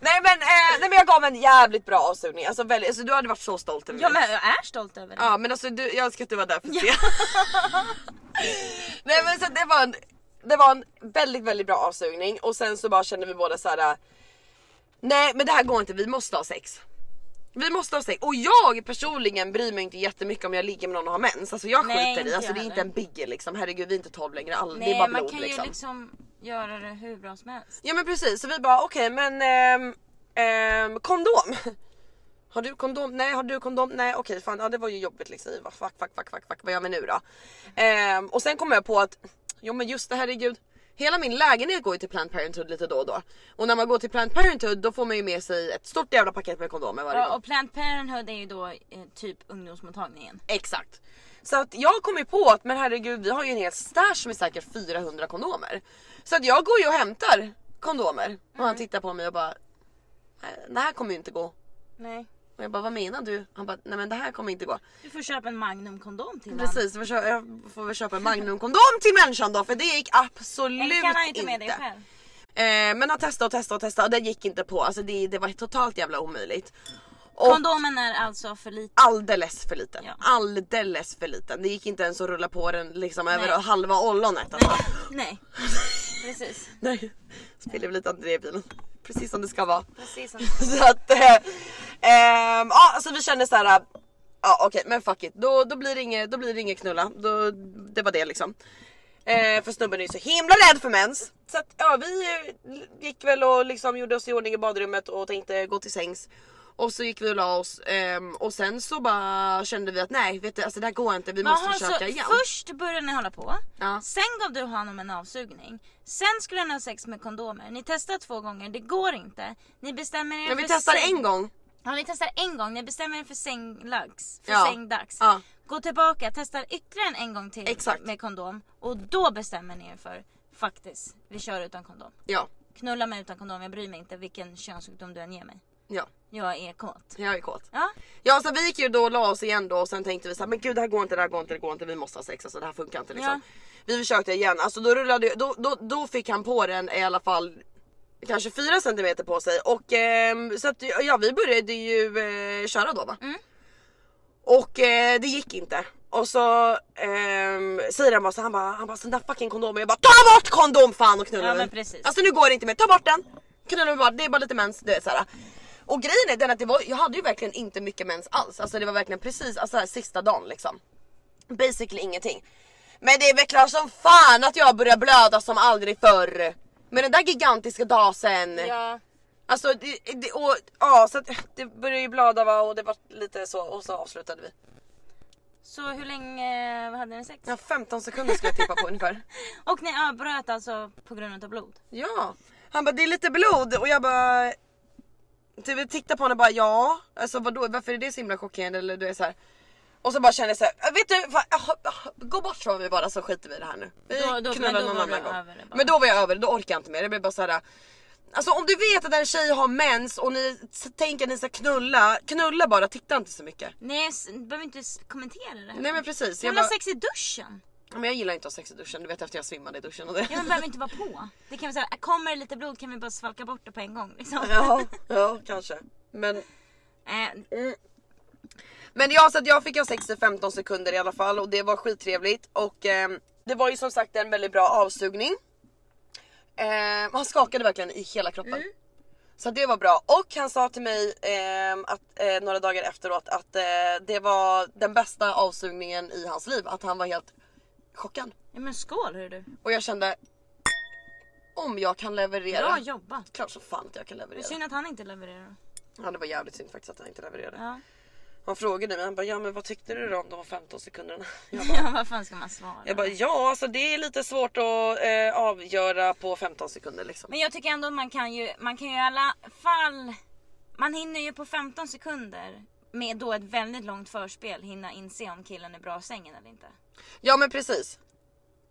Speaker 2: Nej men, eh, nej men jag gav en jävligt bra avslutning, alltså, väldigt, alltså du hade varit så stolt
Speaker 1: [LAUGHS]
Speaker 2: över
Speaker 1: Ja
Speaker 2: mig.
Speaker 1: men jag är stolt över det.
Speaker 2: Ja men alltså du, jag önskar att du var där för att se. [LAUGHS] Nej men så det var en, det var en väldigt väldigt bra avsugning och sen så bara kände vi båda så här. Nej men det här går inte, vi måste ha sex. Vi måste ha sex och jag personligen bryr mig inte jättemycket om jag ligger med någon och har mens. Alltså jag
Speaker 1: Nej,
Speaker 2: skiter i,
Speaker 1: inte
Speaker 2: alltså
Speaker 1: jag
Speaker 2: det är inte
Speaker 1: heller.
Speaker 2: en bigger liksom. Herregud vi är inte 12 längre, all, det är
Speaker 1: Nej
Speaker 2: bara
Speaker 1: man
Speaker 2: blod
Speaker 1: kan
Speaker 2: liksom.
Speaker 1: ju liksom göra det hur bra som helst.
Speaker 2: Ja men precis, så vi bara okej men ehm, ehm, kondom. [LAUGHS] Har du kondom? Nej, har du kondom? Nej okej fan ja, det var ju jobbigt liksom. Vad Fuck, fuck, fuck, fuck, fuck. vad gör vi nu då? Ehm, och sen kom jag på att, jo men just det herregud. Hela min lägenhet går ju till Planned Parenthood lite då och då. Och när man går till Planned Parenthood då får man ju med sig ett stort jävla paket med kondomer varje
Speaker 1: Ja,
Speaker 2: gång.
Speaker 1: och Planned Parenthood är ju då eh, typ ungdomsmottagningen.
Speaker 2: Exakt. Så att jag kom ju på att men herregud vi har ju en hel stash med säkert 400 kondomer. Så att jag går ju och hämtar kondomer. Och
Speaker 1: Mm.
Speaker 2: han tittar på mig och bara, "Nej, det här kommer ju inte gå.
Speaker 1: Nej.
Speaker 2: Och jag bara vad menar du? Han bara nej men det här kommer inte gå.
Speaker 1: Du får köpa en Magnum-kondom till honom.
Speaker 2: Precis, jag får kö- jag får väl köpa en magnumkondom till människan då för det gick absolut
Speaker 1: Eller kan han inte
Speaker 2: inte.
Speaker 1: med dig själv?
Speaker 2: Eh, men han testade och testade och testade och det gick inte på. Alltså det, det var totalt jävla omöjligt. Och-
Speaker 1: Kondomen är alltså för liten.
Speaker 2: alldeles för liten.
Speaker 1: Ja.
Speaker 2: Alldeles för liten. Det gick inte ens att rulla på den liksom över
Speaker 1: Nej.
Speaker 2: halva ollonet. Alltså.
Speaker 1: Nej. Precis.
Speaker 2: Nej, spiller vi lite André i bilen. Precis som det ska vara. [LAUGHS]
Speaker 1: Precis som
Speaker 2: Så att, eh, ehm, ja så vi kände så här. Ja okej men fuck it, då, då, blir det inget, då blir det inget knulla. Då, det var det liksom. Eh, för snubben är ju så himla rädd för mens. Så att ja vi eh, gick väl och liksom gjorde oss i ordning i badrummet och tänkte gå till sängs. Och så gick vi och la oss ehm, och sen så bara kände vi att nej vet du, alltså det här går inte, vi måste
Speaker 1: Jaha,
Speaker 2: försöka
Speaker 1: så
Speaker 2: igen.
Speaker 1: först började ni hålla på,
Speaker 2: Ja.
Speaker 1: sen gav du honom en avsugning, sen skulle han ha sex med kondomer, ni testar två gånger, det går inte. Ni bestämmer er
Speaker 2: Men vi
Speaker 1: för
Speaker 2: testar
Speaker 1: säng.
Speaker 2: en gång.
Speaker 1: Ja, ni testar en gång, ni bestämmer er för sänglags, för
Speaker 2: Ja.
Speaker 1: sängdags.
Speaker 2: Ja.
Speaker 1: Gå tillbaka, testar ytterligare en, en gång till
Speaker 2: Exakt.
Speaker 1: med kondom och då bestämmer ni er för faktiskt, vi kör utan kondom.
Speaker 2: Ja,
Speaker 1: Knulla mig utan kondom, jag bryr mig inte vilken könssjukdom du än ger mig.
Speaker 2: ja,
Speaker 1: Jag är kåt.
Speaker 2: jag är kåt.
Speaker 1: Ja,
Speaker 2: Ja så vi gick ju då och la oss igen då och sen tänkte vi så här, men gud det här går inte, det här går inte, det går inte, vi måste ha sex alltså det här funkar inte liksom.
Speaker 1: Ja.
Speaker 2: Vi försökte igen, alltså då rullade då, då, då fick han på den i alla fall kanske 4 cm på sig och ehm, så att ja vi började ju eh, köra då va.
Speaker 1: Mm.
Speaker 2: Och eh, det gick inte. Och så ehm, säger han bara så han bara, han bara så den där fucking kondomen, jag bara ta bort kondom fan och knullar
Speaker 1: Ja,
Speaker 2: mig.
Speaker 1: men precis.
Speaker 2: Alltså nu går det inte mer, ta bort den! Knullar mig bara, det är bara lite mens, du vet såhär. Och grejen är den att det var, jag hade ju verkligen inte mycket mens alls, alltså det var verkligen precis, alltså här, sista dagen liksom. Basically ingenting. Men det är väl klart som fan att jag börjar blöda som aldrig förr. Med den där gigantiska dasen.
Speaker 1: ja.
Speaker 2: Alltså det, det, och, ja, så att, det började ju blöda va och det var lite så och så avslutade vi.
Speaker 1: Så hur länge hade ni sex?
Speaker 2: Ja 15 sekunder skulle jag tippa
Speaker 1: [LAUGHS]
Speaker 2: på ungefär.
Speaker 1: Och ni avbröt alltså på grund av blod?
Speaker 2: Ja. Han bara det är lite blod och jag bara typ titta på honom och bara ja, alltså vadå varför är det så himla chockerande eller du är så här. Och så bara kände jag så här, vet du vad, ah, ah, gå bort från mig bara så skiter vi i det här nu. Vi
Speaker 1: Då- då-
Speaker 2: knullar
Speaker 1: men då
Speaker 2: någon
Speaker 1: var du
Speaker 2: annan gång.
Speaker 1: över det bara.
Speaker 2: Men då var jag över det, då orkar jag inte mer. Det blev bara så här. Alltså om du vet att en tjej har mens och ni s- tänker att ni ska knulla, knulla bara, titta inte så mycket.
Speaker 1: Nej, s- du behöver inte s- kommentera det här.
Speaker 2: Nej men precis.
Speaker 1: jag
Speaker 2: Jag
Speaker 1: vill ha
Speaker 2: bara,
Speaker 1: sex i duschen!
Speaker 2: men jag gillar inte att ha sex i duschen, du vet efter jag svimmade i duschen och det.
Speaker 1: Ja, men behöver inte vara på. Det kan vi säga, kommer det lite blod kan vi bara svalka bort det på en gång. Liksom.
Speaker 2: Ja, [LAUGHS] ja kanske. Men
Speaker 1: Eh,
Speaker 2: Mm. Men ja, så att jag fick ha sex i 15 sekunder i alla fall och det var skittrevligt och ehm, det var ju som sagt en väldigt bra avsugning. Ehm, han skakade verkligen i hela kroppen. Så att det var bra och han sa till mig ehm, att, eh, några dagar efteråt att eh, det var den bästa avsugningen i hans liv, att han var helt chockad.
Speaker 1: ja, men skål hör du.
Speaker 2: Och jag kände om jag kan leverera.
Speaker 1: Bra jobbat.
Speaker 2: Klart som fan att jag kan
Speaker 1: Det är
Speaker 2: leverera.
Speaker 1: synd att han inte levererar.
Speaker 2: Ja det var jävligt synd faktiskt att han inte levererade.
Speaker 1: Ja.
Speaker 2: Han frågade mig, han bara, ja men vad tyckte du då om de 15 sekunderna? [LAUGHS] Jag bara,
Speaker 1: ja, [LAUGHS] vad fan ska man svara?
Speaker 2: jag bara ja alltså det är lite svårt att eh, avgöra på 15 sekunder liksom.
Speaker 1: Men jag tycker ändå att man kan ju, man kan ju i alla fall, man hinner ju på 15 sekunder med då ett väldigt långt förspel hinna inse om killen är bra i sängen eller inte.
Speaker 2: Ja men precis.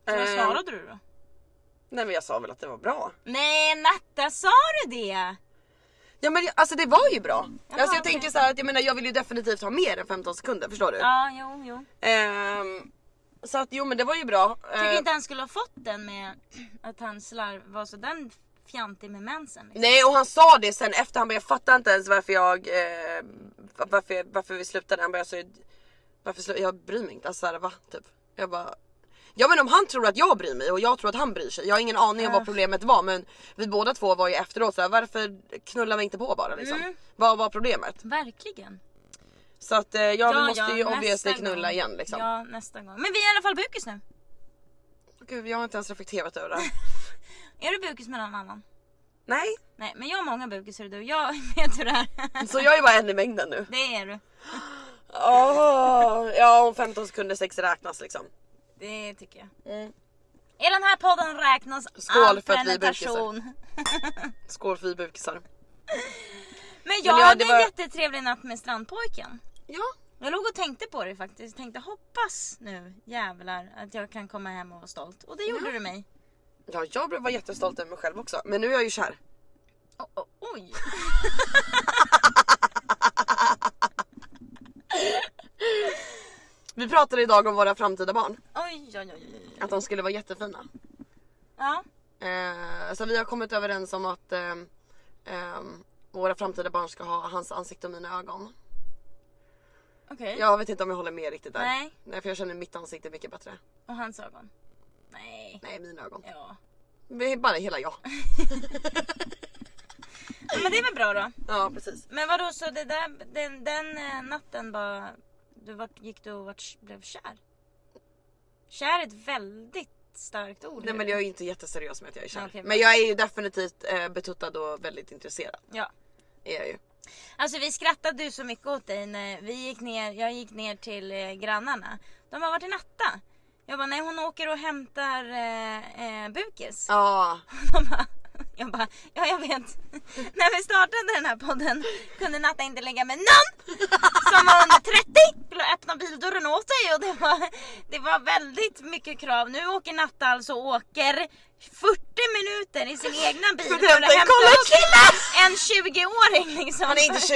Speaker 1: Så vad
Speaker 2: Eh,
Speaker 1: svarade du då?
Speaker 2: Nej men jag sa väl att det var bra.
Speaker 1: Nej Natta, sa du det?
Speaker 2: Ja men alltså det var ju bra. alltså jag
Speaker 1: okej.
Speaker 2: tänker så här att jag menar jag vill ju definitivt ha mer än 15 sekunder förstår du.
Speaker 1: Ja, jo, jo.
Speaker 2: Ehm, så att jo men det var ju bra.
Speaker 1: Tycker
Speaker 2: Ehm,
Speaker 1: inte han skulle ha fått den med [CLEARS THROAT] att han slarv var så den fjantig med mensen. Liksom.
Speaker 2: Nej och han sa det sen efter, han bara jag fattar inte ens varför jag, eh, varför, jag- varför vi slutade. Han bara alltså, varför slu- jag bryr mig inte. Alltså såhär va? Typ. Jag bara, ja men om han tror att jag bryr mig och jag tror att han bryr sig. Jag har ingen aning om vad problemet var men vi båda två var ju efteråt såhär varför knullar vi inte på bara liksom? Vad var problemet?
Speaker 1: Verkligen.
Speaker 2: Så att eh, ja, vi måste ju
Speaker 1: nästa
Speaker 2: obviously knulla
Speaker 1: gång.
Speaker 2: igen liksom.
Speaker 1: Ja, nästa gång. Men vi är i alla fall bukis nu.
Speaker 2: Gud jag har inte ens reflekterat över det här. [LAUGHS]
Speaker 1: Är du bukis med någon annan?
Speaker 2: Nej,
Speaker 1: Nej, men jag har många bukisar och du. Jag [LAUGHS] vet hur det är.
Speaker 2: så jag är bara en i mängden [LAUGHS] nu.
Speaker 1: Det är du.
Speaker 2: Åh, ja om 15 sekunder sex räknas liksom.
Speaker 1: Det tycker jag.
Speaker 2: Mm.
Speaker 1: I den här podden räknas
Speaker 2: Skål
Speaker 1: all
Speaker 2: för att vi är
Speaker 1: prenumeration.
Speaker 2: Skål för vi bukisar.
Speaker 1: Men jag
Speaker 2: Men ja,
Speaker 1: hade
Speaker 2: det var-
Speaker 1: en jättetrevlig natt med strandpojken.
Speaker 2: Ja,
Speaker 1: Jag låg och tänkte på det faktiskt. Tänkte hoppas nu jävlar att jag kan komma hem och vara stolt. Och det gjorde du mig.
Speaker 2: ja jag blev- var jättestolt över mig själv också. Men nu är jag ju kär.
Speaker 1: O- o- oj!
Speaker 2: Vi pratade idag om våra framtida barn.
Speaker 1: Oj, oj, oj, oj. oj.
Speaker 2: Att de skulle vara jättefina.
Speaker 1: Ja.
Speaker 2: Eh, så vi har kommit överens om att ehm, ehm, våra framtida barn ska ha hans ansikte och mina ögon.
Speaker 1: Okej.
Speaker 2: Jag vet inte om jag håller med riktigt där.
Speaker 1: Nej.
Speaker 2: Nej för jag känner mitt ansikte mycket bättre.
Speaker 1: Och hans ögon. Nej.
Speaker 2: Nej mina ögon.
Speaker 1: Ja.
Speaker 2: Det är bara hela jag.
Speaker 1: Men det är väl bra då.
Speaker 2: Ja precis.
Speaker 1: Men vadå så det där, den, den eh, natten bara, du vart, gick du och vart, blev kär? Kär är ett väldigt starkt ord.
Speaker 2: Nej men jag är ju inte jätteseriös med att jag är kär.
Speaker 1: Okej, bra.
Speaker 2: men jag är ju definitivt eh, betuttad och väldigt intresserad.
Speaker 1: Ja.
Speaker 2: Är jag ju.
Speaker 1: Alltså vi skrattade ju så mycket åt dig när vi gick ner, jag gick ner till eh, grannarna. De har varit i Natta. Jag bara, nej hon åker och hämtar eh, eh, Bukis.
Speaker 2: Ja.
Speaker 1: De bara, jag bara, ja jag vet. [LAUGHS] När vi startade den här podden kunde Natta inte lägga med någon som var under 30. Skulle öppna bildörren åt dig och det var, det var väldigt mycket krav. Nu åker Natta alltså och åker 40 minuter i sin egna bil
Speaker 2: För att hämta en
Speaker 1: upp en 20-åring liksom.
Speaker 2: Han är inte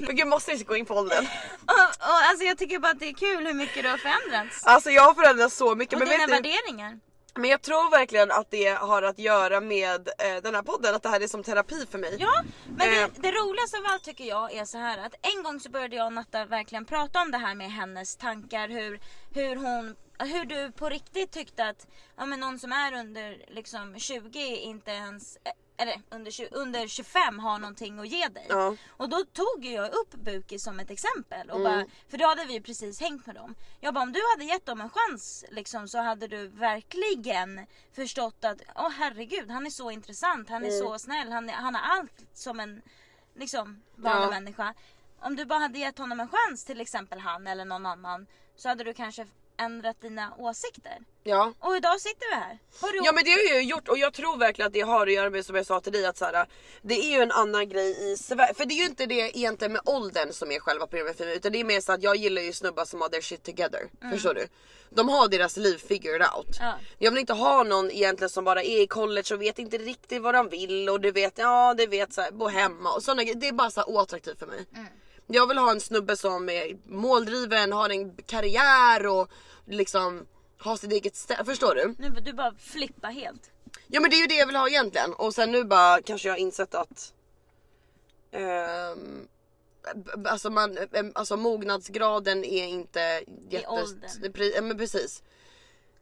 Speaker 2: 20! Men gud måste inte gå in på åldern.
Speaker 1: Och, och, alltså jag tycker bara att det är kul hur mycket du har förändrats.
Speaker 2: Alltså jag har förändrats så mycket.
Speaker 1: Och
Speaker 2: men,
Speaker 1: dina
Speaker 2: vet ni,
Speaker 1: värderingar.
Speaker 2: men jag tror verkligen att det har att göra med eh, den här podden. Att det här är som terapi för mig.
Speaker 1: Ja, men
Speaker 2: Eh.
Speaker 1: det, det roligaste av allt tycker jag är så här att en gång så började jag och Natta verkligen prata om det här med hennes tankar, hur, hur hon hur du på riktigt tyckte att ja, men någon som är under liksom 20 inte ens, eh, eller under, 20, under 25 har någonting att ge dig.
Speaker 2: Ja.
Speaker 1: Och då tog ju jag upp Buki som ett exempel.
Speaker 2: Mm.
Speaker 1: Och bara, för då hade vi precis hängt med dem. Jag bara, om du hade gett dem en chans liksom, så hade du verkligen förstått att åh herregud, han är så intressant, han är
Speaker 2: Mm.
Speaker 1: så snäll, han, är, han har allt som en liksom, vanlig
Speaker 2: Ja.
Speaker 1: människa. Om du bara hade gett honom en chans, till exempel han eller någon annan, så hade du kanske ändrat dina åsikter.
Speaker 2: Ja.
Speaker 1: Och idag sitter vi här. Har du
Speaker 2: Ja men det har jag ju gjort och jag tror verkligen att det har att göra med som jag sa till dig att så här, det är ju en annan grej i Sverige. För det är ju inte det egentligen med åldern som är själva problemet för mig utan det är mer så att jag gillar ju snubbar som har their shit together. Förstår du? De har deras liv figured out.
Speaker 1: Ja.
Speaker 2: Jag vill inte ha någon egentligen som bara är i college och vet inte riktigt vad de vill och du vet, ja du vet så här, bo hemma och sådana grejer. Det är bara så här oattraktivt för mig. Jag vill ha en snubbe som är måldriven, har en karriär och liksom har sitt eget ställe. Förstår du?
Speaker 1: Nu, du bara flippa helt.
Speaker 2: Ja men det är ju det jag vill ha egentligen och sen nu bara kanske jag har insett att ehm, b- b- Alltså, man, em, alltså mognadsgraden är inte
Speaker 1: åldern.
Speaker 2: jätte... pre- ja, men precis.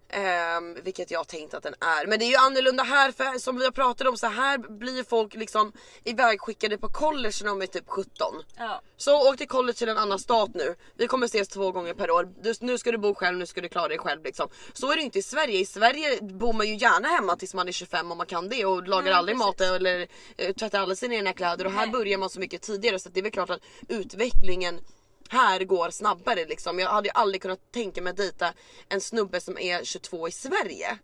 Speaker 2: Ehm, vilket jag har tänkt att den är. Men det är ju annorlunda här för som vi har pratat om så här blir ju folk liksom ivägskickade på college när de är typ 17.
Speaker 1: Ja.
Speaker 2: Så åk till college till en annan stat nu. Vi kommer ses två gånger per år. Du, nu ska du bo själv, nu ska du klara dig själv liksom. Så är det ju inte i Sverige. I Sverige bor man ju gärna hemma tills man är 25 om man kan det och lagar
Speaker 1: Mm,
Speaker 2: aldrig mat eller eh, tvättar aldrig sina egna kläder och här
Speaker 1: Nej.
Speaker 2: börjar man så mycket tidigare så att det är väl klart att utvecklingen här går snabbare liksom. Jag hade ju aldrig kunnat tänka mig att dejta en snubbe som är 22 i Sverige.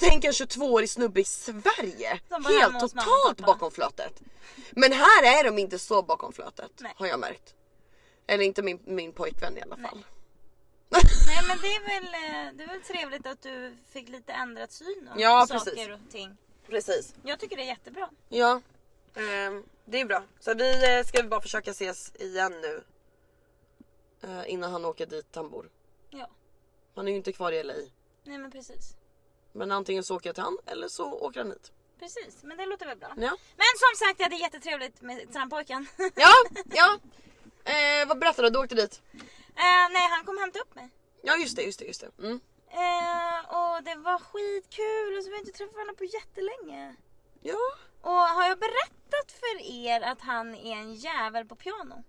Speaker 2: Tänk en 22-årig snubbe i Sverige!
Speaker 1: Som var
Speaker 2: Helt
Speaker 1: hemma hos mamma och
Speaker 2: totalt
Speaker 1: pappa.
Speaker 2: bakom flötet. Men här är de inte så bakom flötet
Speaker 1: Nej.
Speaker 2: har jag märkt. Eller inte min, min pojkvän i alla fall. [LAUGHS]
Speaker 1: Nej men det är, väl, eh, det är väl trevligt att du fick lite ändrat syn om
Speaker 2: Ja,
Speaker 1: saker
Speaker 2: precis.
Speaker 1: och ting.
Speaker 2: Precis.
Speaker 1: Jag tycker det är jättebra.
Speaker 2: Ja. Ehm, det är bra. Så vi eh, ska bara försöka ses igen nu. Eh, innan han åker dit han bor.
Speaker 1: Ja,
Speaker 2: Han är ju inte kvar i LA.
Speaker 1: nej men precis.
Speaker 2: Men antingen så åker jag till han eller så åker han hit.
Speaker 1: Precis, men det låter väl bra.
Speaker 2: Ja,
Speaker 1: Men som sagt, jag hade jättetrevligt med strandpojken.
Speaker 2: ja, [LAUGHS] ja. Eh, vad berättade du? Du åkte dit?
Speaker 1: [LAUGHS] Eh, nej, han kom och hämtade upp mig.
Speaker 2: Ja just det, just det, just det. Mm.
Speaker 1: Eh, och det var skitkul och så har vi inte träffat varandra på jättelänge.
Speaker 2: Ja.
Speaker 1: Och har jag berättat för er att han är en jävel på piano?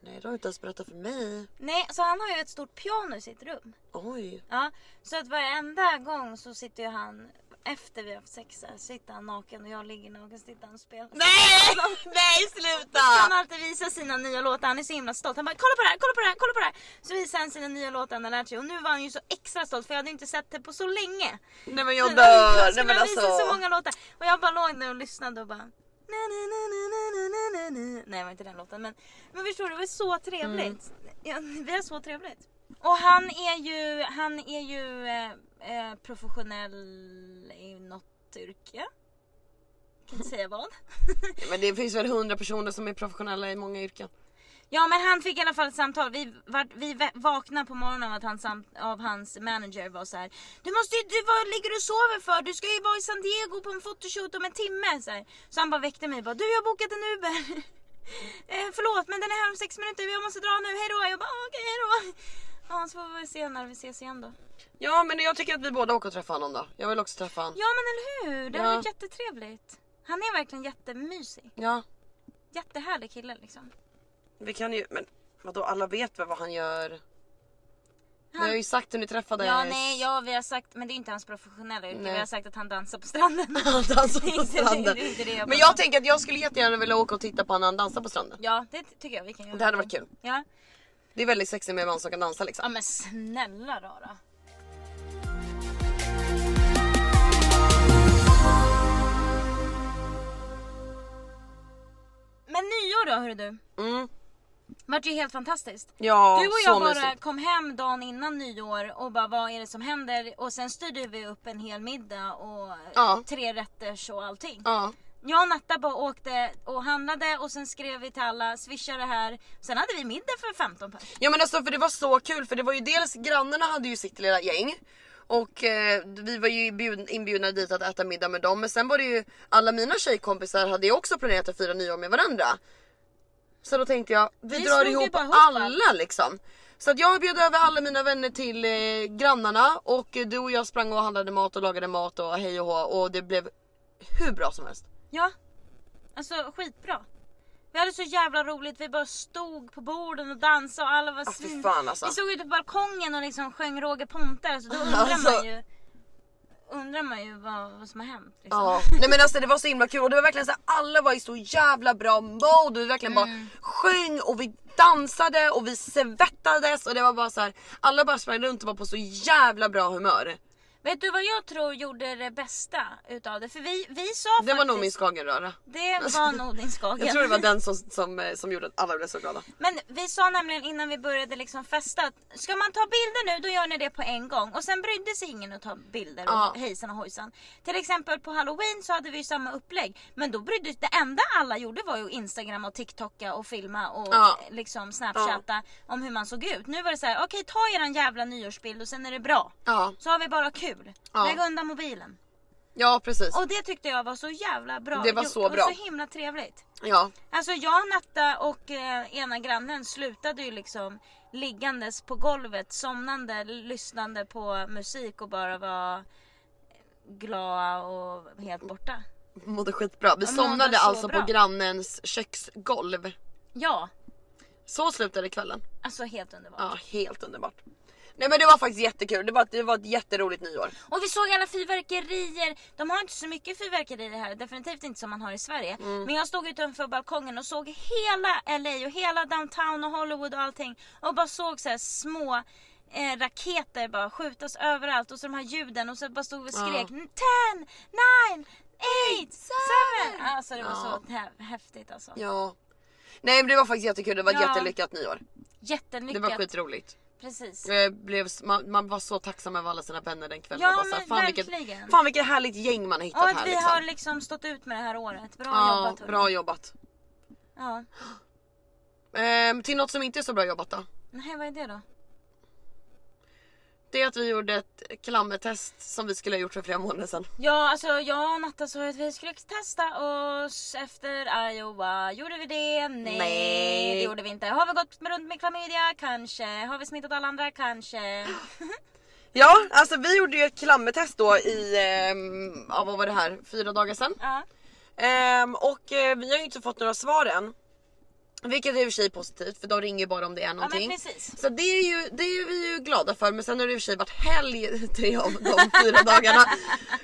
Speaker 2: Nej, du har inte ens berättat för mig.
Speaker 1: Nej, så han har ju ett stort piano i sitt rum.
Speaker 2: Oj.
Speaker 1: Ja, så att varenda gång så sitter ju han efter vi har haft sex så här, sitter han naken och jag ligger naken så sitter han och spelar.
Speaker 2: Nej! [LAUGHS] Nej
Speaker 1: Han
Speaker 2: sluta!
Speaker 1: alltid visar sina nya låtar, han är så himla stolt. Han bara kolla på det här, kolla på det här, kolla på det här. Så visar han sina nya låtar han har lärt sig och nu var han ju så extra stolt för jag hade inte sett det på så länge.
Speaker 2: Nej men jag
Speaker 1: Han
Speaker 2: dör! Nej
Speaker 1: skulle
Speaker 2: men
Speaker 1: ha visat så
Speaker 2: alltså.
Speaker 1: många låtar och jag bara låg där och lyssnade och bara na, na, na, na, na, na, na, na, na. Nej det var inte den låten men, men förstår du det var så trevligt.
Speaker 2: Mm.
Speaker 1: Ja, vi har så trevligt. Och han är ju, han är ju eh, eh, professionell i något yrke. Kan inte säga vad. [LAUGHS]
Speaker 2: Men det finns väl hundra personer som är professionella i många yrken.
Speaker 1: Ja men han fick i alla fall ett samtal. Vi, var, vi vä- vaknade på morgonen av att han sam, av hans manager var så här. Du måste ju, du, vad ligger du och sover för? Du ska ju vara i San Diego på en fotoshoot om en timme. Så, här. så han bara väckte mig och bara, du jag har bokat en Uber. [LAUGHS] eh, förlåt men den är här om sex minuter, jag måste dra nu, hejdå. Jag bara "Ah, okej hejdå. [LAUGHS] Ja så får vi väl se när vi ses igen då.
Speaker 2: Ja men jag tycker att vi båda åker och träffar honom då. Jag vill också träffa honom.
Speaker 1: Ja men eller hur, det har
Speaker 2: Ja.
Speaker 1: varit jättetrevligt. Han är verkligen jättemysig.
Speaker 2: Ja.
Speaker 1: Jättehärlig kille liksom.
Speaker 2: Vi kan ju, men vadå alla vet väl vad han gör? Ni
Speaker 1: Han-
Speaker 2: har ju sagt hur ni träffades.
Speaker 1: Ja, nej, ja, vi har sagt, men det är inte hans professionella yrke.
Speaker 2: Nej.
Speaker 1: Vi har sagt att han dansar på stranden.
Speaker 2: [LAUGHS]
Speaker 1: [LAUGHS]
Speaker 2: Han dansar
Speaker 1: Det är
Speaker 2: på
Speaker 1: inte-
Speaker 2: stranden.
Speaker 1: det är inte det jag
Speaker 2: Men
Speaker 1: pratar om.
Speaker 2: jag tänker att jag skulle jättegärna vilja åka och titta på när han dansar på stranden.
Speaker 1: Ja, det tycker jag vi kan göra.
Speaker 2: Det hade varit kul.
Speaker 1: Ja,
Speaker 2: Det är väldigt sexigt med en man som kan dansa
Speaker 1: ja
Speaker 2: liksom.
Speaker 1: men snälla rara. Men nyår då hörru du.
Speaker 2: Mm.
Speaker 1: Vart ju helt fantastiskt.
Speaker 2: Ja,
Speaker 1: Du och
Speaker 2: så
Speaker 1: jag bara
Speaker 2: mysigt.
Speaker 1: kom hem dagen innan nyår och bara vad är det som händer? Och sen styrde vi upp en hel middag och
Speaker 2: Ja.
Speaker 1: tre rätter och allting.
Speaker 2: Ja.
Speaker 1: Jag och Natta bara åkte och handlade och sen skrev vi till alla, swisha det här. Sen hade vi middag för 15 pers.
Speaker 2: ja men alltså för det var så kul för det var ju dels grannarna hade ju sitt lilla gäng. Och eh, vi var ju bjud- inbjudna dit att äta middag med dem. Men sen var det ju alla mina tjejkompisar hade ju också planerat att fira nyår med varandra. Så då tänkte jag, vi,
Speaker 1: Vi
Speaker 2: drar
Speaker 1: slog det
Speaker 2: ihop
Speaker 1: bara ihop,
Speaker 2: alla liksom. Så att jag bjöd över alla mina vänner till eh, grannarna och eh, du och jag sprang och handlade mat och lagade mat och hej och hå och det blev hur bra som helst.
Speaker 1: Ja. Alltså skitbra. Vi hade så jävla roligt, vi bara stod på borden och dansade och alla var
Speaker 2: fy
Speaker 1: svin...
Speaker 2: fan, alltså.
Speaker 1: Vi stod ute på balkongen och liksom sjöng Roger Pontare
Speaker 2: [LAUGHS]
Speaker 1: så då undrar
Speaker 2: Alltså.
Speaker 1: man ju Undrar man ju vad, vad som har hänt. Liksom.
Speaker 2: Ja, nej men alltså det var så himla kul och det var verkligen så här, alla var i så jävla bra mode och vi verkligen
Speaker 1: Mm.
Speaker 2: bara sjöng och vi dansade och vi svettades och det var bara så här. alla bara sprang runt och var på så jävla bra humör.
Speaker 1: Vet du vad jag tror gjorde det bästa utav det? För vi, vi sa
Speaker 2: Det
Speaker 1: faktiskt...
Speaker 2: var nog min skagenröra.
Speaker 1: Det var nog
Speaker 2: [LAUGHS]
Speaker 1: din skagen.
Speaker 2: Jag tror det var den som, som, eh, som gjorde att alla blev så glada.
Speaker 1: Men vi sa nämligen innan vi började liksom festa att ska man ta bilder nu då gör ni det på en gång. Och sen brydde sig ingen att ta bilder och
Speaker 2: Ja.
Speaker 1: hejsan och hojsan. Till exempel på halloween så hade vi ju samma upplägg. Men då brydde det enda alla gjorde var ju instagram och tiktoka och filma och
Speaker 2: Ja.
Speaker 1: liksom snapchatta om hur man såg ut. Nu var det så här: okej ta eran jävla nyårsbild och sen är det bra.
Speaker 2: Ja,
Speaker 1: Så har vi bara kul.
Speaker 2: Ja.
Speaker 1: Lägg undan mobilen.
Speaker 2: ja precis.
Speaker 1: Och det tyckte jag var så jävla bra
Speaker 2: Det var
Speaker 1: gjort
Speaker 2: så
Speaker 1: och
Speaker 2: bra.
Speaker 1: så himla trevligt.
Speaker 2: Ja,
Speaker 1: Alltså jag, Natta och eh, ena grannen slutade ju liksom liggandes på golvet, somnande, lyssnande på musik och bara var glada och helt borta.
Speaker 2: mådde skitbra. Vi
Speaker 1: men hon
Speaker 2: somnade
Speaker 1: var så
Speaker 2: alltså
Speaker 1: bra.
Speaker 2: på grannens köksgolv.
Speaker 1: Ja,
Speaker 2: Så slutade kvällen.
Speaker 1: alltså helt underbart.
Speaker 2: Ja, helt underbart. Nej men det var faktiskt jättekul, det var, det var ett jätteroligt nyår.
Speaker 1: Och vi såg alla fyrverkerier. De har inte så mycket fyrverkerier här, definitivt inte som man har i Sverige.
Speaker 2: Mm.
Speaker 1: Men jag stod utanför balkongen och såg hela LA och hela downtown och Hollywood och allting. Och bara såg så här små eh, raketer bara skjutas överallt och så de här ljuden och så bara stod vi och skrek ten, nine, eight, seven. Alltså det var
Speaker 2: Ja.
Speaker 1: så hä- häftigt alltså.
Speaker 2: Ja. Nej men det var faktiskt jättekul, det var ett
Speaker 1: Ja.
Speaker 2: jättelyckat nyår.
Speaker 1: Jättelyckat.
Speaker 2: Det var skitroligt.
Speaker 1: precis.
Speaker 2: Eh, blev, man, man var så tacksam över alla sina vänner den kvällen.
Speaker 1: Ja,
Speaker 2: Man bara så här,
Speaker 1: men
Speaker 2: fan, vilket,
Speaker 1: verkligen.
Speaker 2: fan vilket härligt gäng man har hittat
Speaker 1: Och
Speaker 2: här
Speaker 1: att vi
Speaker 2: liksom.
Speaker 1: har liksom stått ut med det här året. Bra
Speaker 2: ja,
Speaker 1: jobbat hörni.
Speaker 2: bra jobbat.
Speaker 1: Ja.
Speaker 2: Ehm, till något som inte är så bra jobbat då.
Speaker 1: Nej vad är det då?
Speaker 2: Det är att vi gjorde ett klammertest som vi skulle ha gjort för flera månader sedan.
Speaker 1: Ja alltså jag och Natta sa att vi skulle testa oss efter Iowa. Gjorde vi det? Nej,
Speaker 2: Nej.
Speaker 1: det gjorde vi inte. Har vi gått runt med klamydia? Kanske. Har vi smittat alla andra? Kanske.
Speaker 2: Ja, alltså vi gjorde ju ett klammertest då i, ehm, ja, vad var det här, fyra dagar sedan.
Speaker 1: Ja.
Speaker 2: Ehm, och eh, vi har ju inte fått några svar än. Vilket är i och för sig positivt för de ringer ju bara om det är
Speaker 1: ja
Speaker 2: någonting.
Speaker 1: men precis.
Speaker 2: Så det är, ju, det är vi ju glada för men sen har det i och för sig varit helg tre av de fyra dagarna.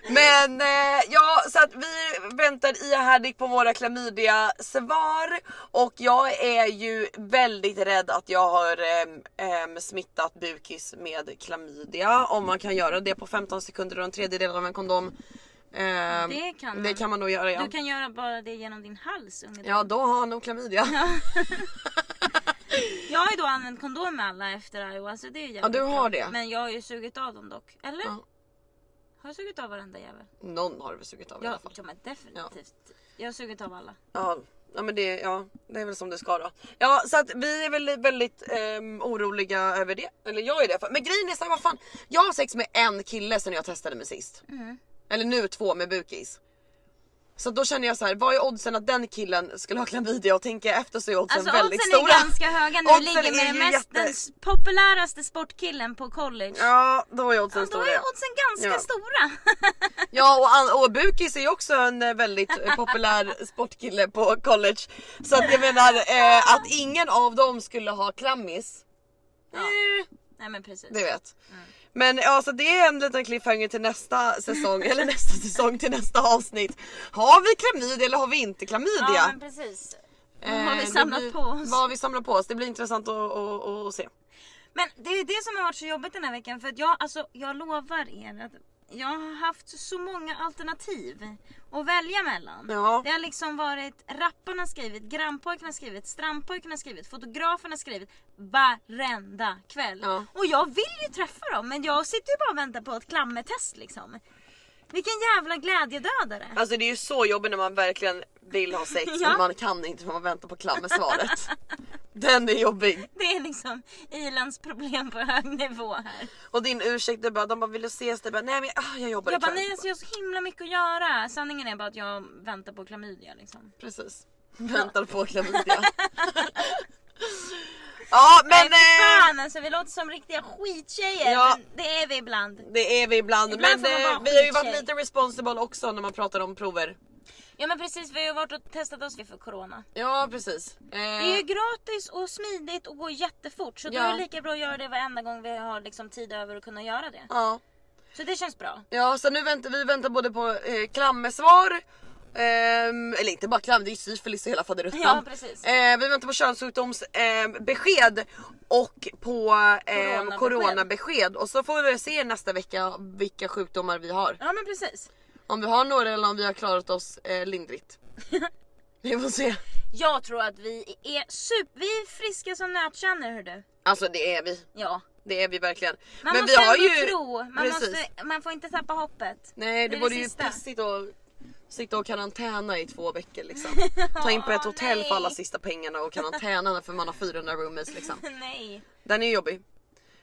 Speaker 2: Men eh, ja så att vi väntar ihärdigt på våra klamydia svar och jag är ju väldigt rädd att jag har ehm, ehm, smittat bukis med klamydia om man kan göra det på 15 sekunder och en tredjedel av en kondom. Ehm,
Speaker 1: Det kan
Speaker 2: det
Speaker 1: man.
Speaker 2: kan man nog göra ja.
Speaker 1: Du kan göra bara det genom din hals unge.
Speaker 2: Ja då har han nog klamydia.
Speaker 1: Jag har ju då använt kondom med alla efter Iowa så det är ju jävligt
Speaker 2: du har
Speaker 1: bra.
Speaker 2: det.
Speaker 1: Men jag har ju sugit av dem dock. Eller?
Speaker 2: Ja.
Speaker 1: Har jag sugit av varenda jävel?
Speaker 2: Någon har väl sugit av i alla
Speaker 1: Ja,
Speaker 2: fall.
Speaker 1: ja men definitivt. Jag har sugit av alla.
Speaker 2: Ja, ja men det, ja, det är väl som det ska då. Ja så att vi är väl väldigt ehm, oroliga över det. Eller jag är det. Men grejen är såhär, vad fan. Jag har sex med en kille sen jag testade mig sist.
Speaker 1: Mm.
Speaker 2: Eller nu två med bukis. Så då känner jag så här, vad är oddsen att den killen skulle ha klamydia? Och tänker jag efter så är oddsen
Speaker 1: Alltså
Speaker 2: väldigt
Speaker 1: oddsen
Speaker 2: stora.
Speaker 1: är ganska höga när
Speaker 2: Oddsen
Speaker 1: du ligger
Speaker 2: är
Speaker 1: med
Speaker 2: ju
Speaker 1: den mest,
Speaker 2: jätte-
Speaker 1: den s- populäraste sportkillen på college.
Speaker 2: Ja då är oddsen
Speaker 1: Ja, då
Speaker 2: stora.
Speaker 1: är
Speaker 2: ja.
Speaker 1: oddsen ganska
Speaker 2: Ja.
Speaker 1: stora.
Speaker 2: Ja och, an- och Bukis är ju också en eh, väldigt
Speaker 1: [LAUGHS]
Speaker 2: eh, populär sportkille på college. Så att jag menar eh, att ingen av dem skulle ha klammis. Eh,
Speaker 1: [LAUGHS] Nej men
Speaker 2: [LAUGHS]
Speaker 1: precis.
Speaker 2: du vet.
Speaker 1: Mm.
Speaker 2: Men ja, så det är en liten cliffhanger till nästa säsong, eller nästa säsong till nästa avsnitt. Har vi klamydia eller har vi inte
Speaker 1: ja
Speaker 2: klamydia?
Speaker 1: men precis.
Speaker 2: Eh,
Speaker 1: Vad har vi
Speaker 2: det
Speaker 1: samlat
Speaker 2: blir,
Speaker 1: på oss?
Speaker 2: Vad har vi samlat på oss? Det blir intressant att, att, att, att se.
Speaker 1: Men det är det som har varit så jobbigt den här veckan för att jag, alltså, jag lovar er att jag har haft så många alternativ att välja mellan.
Speaker 2: Ja.
Speaker 1: Det har liksom varit rapparna har skrivit, grannpojken har skrivit, strandpojken har skrivit, fotografen har skrivit varenda kväll.
Speaker 2: Ja.
Speaker 1: Och jag vill ju träffa dem men jag sitter ju bara och väntar på ett klammertest liksom. Vilken jävla glädjedödare.
Speaker 2: Alltså det är ju så jobbigt när man verkligen vill ha sex
Speaker 1: Ja.
Speaker 2: men man kan inte för man väntar på klammersvaret. Den är jobbig.
Speaker 1: Det är liksom Ilans problem på hög nivå här.
Speaker 2: Och din ursäkt är bara, de bara vill du ses? Det bara, nej men ah, jag jobbar
Speaker 1: Jag bara
Speaker 2: ikväll.
Speaker 1: nej alltså jag har så himla mycket att göra. Sanningen är bara att jag väntar på klamydia liksom.
Speaker 2: Precis. Väntar på klamydia. [LAUGHS] ja men eh,
Speaker 1: Fan alltså vi låter som riktiga skittjejer
Speaker 2: Ja.
Speaker 1: men det är vi ibland.
Speaker 2: det är vi ibland.
Speaker 1: Ibland
Speaker 2: men
Speaker 1: får man
Speaker 2: eh,
Speaker 1: vara
Speaker 2: vi har ju
Speaker 1: skittjej.
Speaker 2: varit lite responsible också när man pratar om prover.
Speaker 1: Ja men precis vi har ju varit och testat oss för corona.
Speaker 2: Ja precis. Eh,
Speaker 1: Det är ju gratis och smidigt och går jättefort så då
Speaker 2: Ja.
Speaker 1: är det lika bra att göra det varenda gång vi har liksom tid över att kunna göra det.
Speaker 2: ja.
Speaker 1: Så det känns bra.
Speaker 2: ja så nu väntar vi väntar både på eh, klammersvar ehm, eller inte bara klam, det är ju syfilis och hela faderuttan.
Speaker 1: Ja, precis.
Speaker 2: Eh, vi väntar på könssjukdomsbesked eh, besked och på ehm,
Speaker 1: Coronabesked.
Speaker 2: coronabesked. Och så får vi väl se nästa vecka vilka sjukdomar vi har.
Speaker 1: Ja men precis.
Speaker 2: Om vi har några eller om vi har klarat oss eh, [LAUGHS] lindrigt. Vi får se.
Speaker 1: Jag tror att vi är super... Vi är friska som nötkärnor hör du.
Speaker 2: Alltså det är vi.
Speaker 1: Ja.
Speaker 2: Det är vi verkligen.
Speaker 1: Man
Speaker 2: Men
Speaker 1: måste
Speaker 2: vi har
Speaker 1: ändå
Speaker 2: ju...
Speaker 1: tro. Man,
Speaker 2: Precis.
Speaker 1: måste, man får inte tappa hoppet. [LAUGHS]
Speaker 2: Nej det,
Speaker 1: är
Speaker 2: vore ju
Speaker 1: sista.
Speaker 2: pissigt att sitta och karantäna i två veckor liksom.
Speaker 1: [LAUGHS]
Speaker 2: Ta in på ett
Speaker 1: Åh,
Speaker 2: hotell för alla
Speaker 1: nej.
Speaker 2: sista pengarna och karantäna för man har 400 roomies liksom.
Speaker 1: Nej.
Speaker 2: Den är ju jobbig.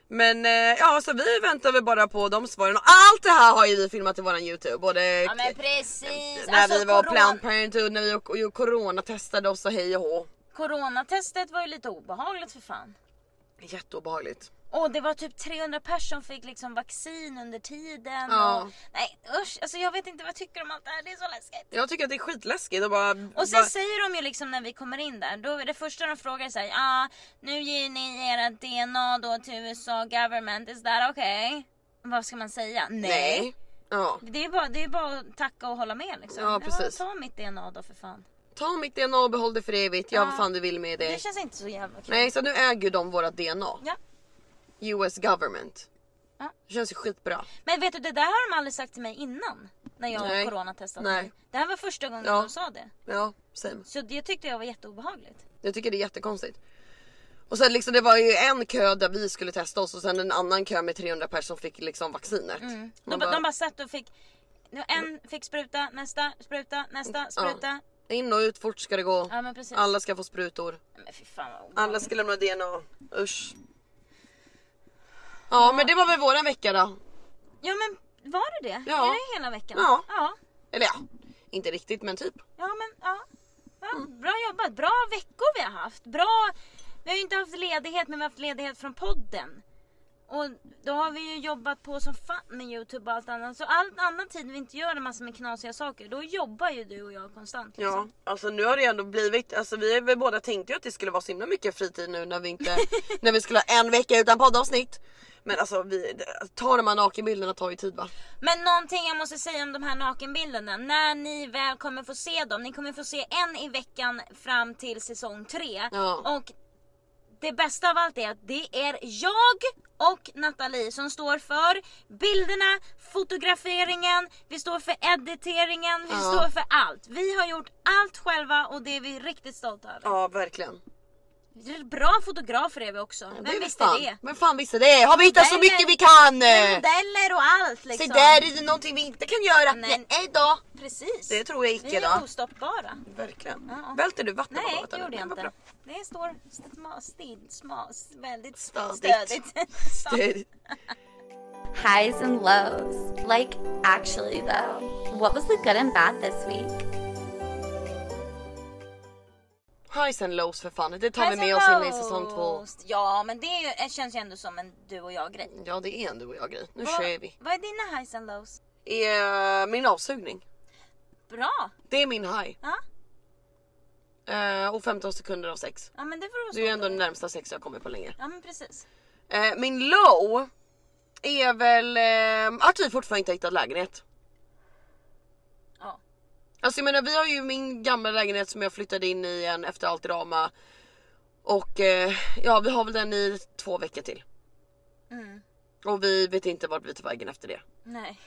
Speaker 2: Men eh, ja så vi väntar väl bara på de svaren och allt det här har ju vi filmat i våran youtube. Både
Speaker 1: Ja men precis. Alltså,
Speaker 2: när vi var
Speaker 1: corona-
Speaker 2: Planned Parenthood, när vi och, och coronatestade oss och hej och hå.
Speaker 1: Coronatestet var ju lite obehagligt för fan.
Speaker 2: Jätteobehagligt.
Speaker 1: Och det var typ 300 personer som fick liksom vaccin under tiden.
Speaker 2: Ja.
Speaker 1: Och, nej usch, alltså jag vet inte vad jag tycker om allt det här, det är så läskigt.
Speaker 2: Jag tycker att det är skitläskigt och bara...
Speaker 1: Och sen
Speaker 2: bara,
Speaker 1: säger de ju liksom när vi kommer in där, då är det första de frågar är så här, ja ah, nu ger ni era DNA då till USA government, is that okay? Vad ska man säga? Nej.
Speaker 2: nej. Ja.
Speaker 1: Det, är bara, det är bara att tacka och hålla med liksom.
Speaker 2: Ja, precis.
Speaker 1: ta mitt DNA då för fan.
Speaker 2: Ta mitt DNA och behåll det för evigt, gör
Speaker 1: Ja.
Speaker 2: vad fan du vill med det.
Speaker 1: Det känns inte så jävla kul.
Speaker 2: Nej så nu äger de våra DNA.
Speaker 1: Ja.
Speaker 2: US government.
Speaker 1: Ja.
Speaker 2: Det känns ju skitbra.
Speaker 1: Men vet du, det där har de aldrig sagt till mig innan. När jag
Speaker 2: Nej.
Speaker 1: coronatestade
Speaker 2: Nej.
Speaker 1: mig. Det här var första gången
Speaker 2: Ja.
Speaker 1: de sa det.
Speaker 2: Ja, same.
Speaker 1: Så det tyckte jag var jätteobehagligt.
Speaker 2: Jag tycker det är jättekonstigt. Och sen liksom det var ju en kö där vi skulle testa oss och sen en annan kö med 300 personer som fick liksom vaccinet.
Speaker 1: Mm. De,
Speaker 2: Man
Speaker 1: ba-
Speaker 2: bara,
Speaker 1: de bara satt och fick... nu En fick spruta, nästa spruta, nästa spruta.
Speaker 2: In och ut, fort ska det gå.
Speaker 1: Ja men precis.
Speaker 2: Alla ska få sprutor.
Speaker 1: Men fy fan vad obehagligt.
Speaker 2: Alla ska lämna DNA. Usch. Ja men det var väl våran vecka då.
Speaker 1: Ja men var det det?
Speaker 2: Ja.
Speaker 1: Är det hela veckan?
Speaker 2: Ja.
Speaker 1: Ja,
Speaker 2: Eller ja, inte riktigt men typ.
Speaker 1: Ja, men ja. ja
Speaker 2: Mm.
Speaker 1: bra jobbat, bra veckor vi har haft. Bra... Vi har ju inte haft ledighet men vi har haft ledighet från podden. Och då har vi ju jobbat på som fan med Youtube och allt annat. Så all annan tid vi inte gör en massa med knasiga saker, då jobbar ju du och jag konstant.
Speaker 2: Ja,
Speaker 1: Liksom.
Speaker 2: alltså nu har det ändå blivit, alltså vi är väl båda tänkte ju att det skulle vara så himla mycket fritid nu när
Speaker 1: [LAUGHS]
Speaker 2: vi inte, när vi skulle ha en vecka utan poddavsnitt. Men alltså vi, ta de här nakenbilderna tar ju tid va?
Speaker 1: Men någonting jag måste säga om de här nakenbilderna. När ni väl kommer få se dem, ni kommer få se en i veckan fram till säsong tre.
Speaker 2: Ja.
Speaker 1: Och det bästa av allt är att det är jag och Nathalie som står för bilderna, fotograferingen, vi står för editeringen, vi
Speaker 2: Ja.
Speaker 1: står för allt. Vi har gjort allt själva och det är vi riktigt stolta över.
Speaker 2: Ja verkligen.
Speaker 1: Bra fotografer är vi också.
Speaker 2: Det är
Speaker 1: Vem
Speaker 2: väl
Speaker 1: visste
Speaker 2: fan.
Speaker 1: det?
Speaker 2: Men fan visste det? Har vi hittat så
Speaker 1: Nej, nej.
Speaker 2: mycket vi kan?
Speaker 1: Modeller och allt liksom.
Speaker 2: Se där är det någonting vi inte kan göra.
Speaker 1: Nej.
Speaker 2: Nej, då.
Speaker 1: Precis.
Speaker 2: Det tror jag
Speaker 1: vi
Speaker 2: icke
Speaker 1: är
Speaker 2: då.
Speaker 1: ostoppbara.
Speaker 2: Verkligen.
Speaker 1: Ja.
Speaker 2: Välter du vatten på
Speaker 1: Nej,
Speaker 2: båten?
Speaker 1: det gjorde jag
Speaker 2: Men vad
Speaker 1: inte.
Speaker 2: bra.
Speaker 1: Det står sma, stid, sma, väldigt
Speaker 2: Stadigt.
Speaker 1: stödigt. [LAUGHS]
Speaker 2: Det-
Speaker 3: Highs and lows. Like, actually, though, what was the good and bad this week?
Speaker 2: Highs and lows för fan, det tar vi
Speaker 1: Highs
Speaker 2: med
Speaker 1: and
Speaker 2: oss in i
Speaker 1: lows.
Speaker 2: säsong två.
Speaker 1: Ja, men det är ju- det känns ju ändå som en du och jag grej.
Speaker 2: Ja det är en du och jag grej. Nu
Speaker 1: Vad-
Speaker 2: kör vi.
Speaker 1: Vad är dina highs and lows?
Speaker 2: Är eh, min avsugning.
Speaker 1: Bra!
Speaker 2: Det är min high.
Speaker 1: Ja,
Speaker 2: Eh, och 15 sekunder av sex.
Speaker 1: ja men det får du vara
Speaker 2: Det är ju
Speaker 1: stolt
Speaker 2: ändå det
Speaker 1: över.
Speaker 2: närmsta sex jag kommer på länge.
Speaker 1: Ja men precis.
Speaker 2: Eh, min low är väl eh, att vi fortfarande inte har hittat lägenhet.
Speaker 1: Ja.
Speaker 2: Alltså jag menar vi har ju min gamla lägenhet som jag flyttade in i igen efter allt drama. Och eh, ja vi har väl den i två veckor till.
Speaker 1: Mm.
Speaker 2: Och vi vet inte vart vi tar vägen efter det.
Speaker 1: Nej.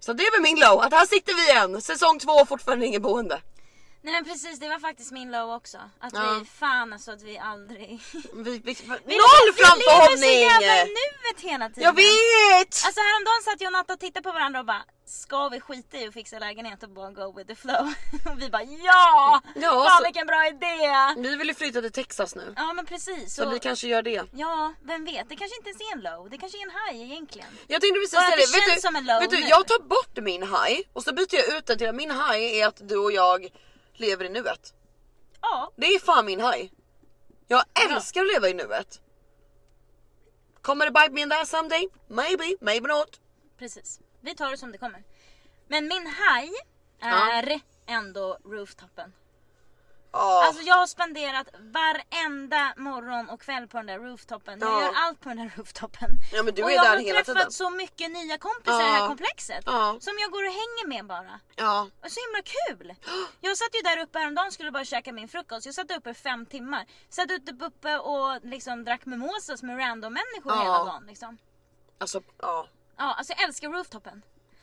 Speaker 2: Så det är väl min low, att här sitter vi igen! Säsong två och fortfarande ingen boende.
Speaker 1: Nej men precis, det var faktiskt min low också. Att
Speaker 2: Ja.
Speaker 1: vi, fan alltså att vi aldrig...
Speaker 2: Vi, vi,
Speaker 1: [LAUGHS] Vi
Speaker 2: noll
Speaker 1: Vi lever så jävla i
Speaker 2: framförhållning!
Speaker 1: nuet hela tiden.
Speaker 2: Jag vet!
Speaker 1: Alltså häromdagen satt jag och Natta och tittade på varandra och bara Ska vi skita i att fixa lägenhet och bara go with the flow? [LAUGHS] Och vi bara ja!
Speaker 2: Ja,
Speaker 1: Fan
Speaker 2: så-
Speaker 1: vilken bra idé!
Speaker 2: Vi vill ju flytta till Texas nu.
Speaker 1: Ja men precis.
Speaker 2: Så
Speaker 1: och-
Speaker 2: vi kanske gör det.
Speaker 1: Ja, vem vet? Det kanske inte ens är en low. Det kanske är en high egentligen.
Speaker 2: Jag tänkte precis
Speaker 1: Bara
Speaker 2: säga
Speaker 1: att
Speaker 2: det.
Speaker 1: det känns
Speaker 2: Vet,
Speaker 1: som
Speaker 2: du,
Speaker 1: en low
Speaker 2: vet du,
Speaker 1: nu.
Speaker 2: jag tar bort min high och så byter jag ut den till att min high är att du och jag lever i nuet.
Speaker 1: Ja,
Speaker 2: Det är fan min high. Jag älskar att leva i nuet. Kommer det bite me in the ass someday? Maybe, maybe not.
Speaker 1: precis. Vi tar det som det kommer. Men min high
Speaker 2: Ja.
Speaker 1: är ändå rooftopen.
Speaker 2: Ja,
Speaker 1: Alltså jag har spenderat varenda morgon och kväll på den där rooftopen. Jag
Speaker 2: Ja.
Speaker 1: gör allt på den där rooftopen.
Speaker 2: Ja, men du
Speaker 1: och
Speaker 2: är
Speaker 1: jag
Speaker 2: där
Speaker 1: har
Speaker 2: hela
Speaker 1: träffat
Speaker 2: tiden.
Speaker 1: så mycket nya kompisar i det
Speaker 2: Ja.
Speaker 1: här komplexet.
Speaker 2: Ja.
Speaker 1: Som jag går och hänger med bara.
Speaker 2: ja.
Speaker 1: Och Så himla kul! Jag satt ju där uppe häromdagen och skulle bara käka min frukost. Jag satt uppe i fem timmar. Satt ute uppe och liksom drack mimosas med random människor
Speaker 2: Ja.
Speaker 1: hela dagen. Liksom.
Speaker 2: Alltså, ja.
Speaker 1: Ja, alltså jag älskar rooftopen.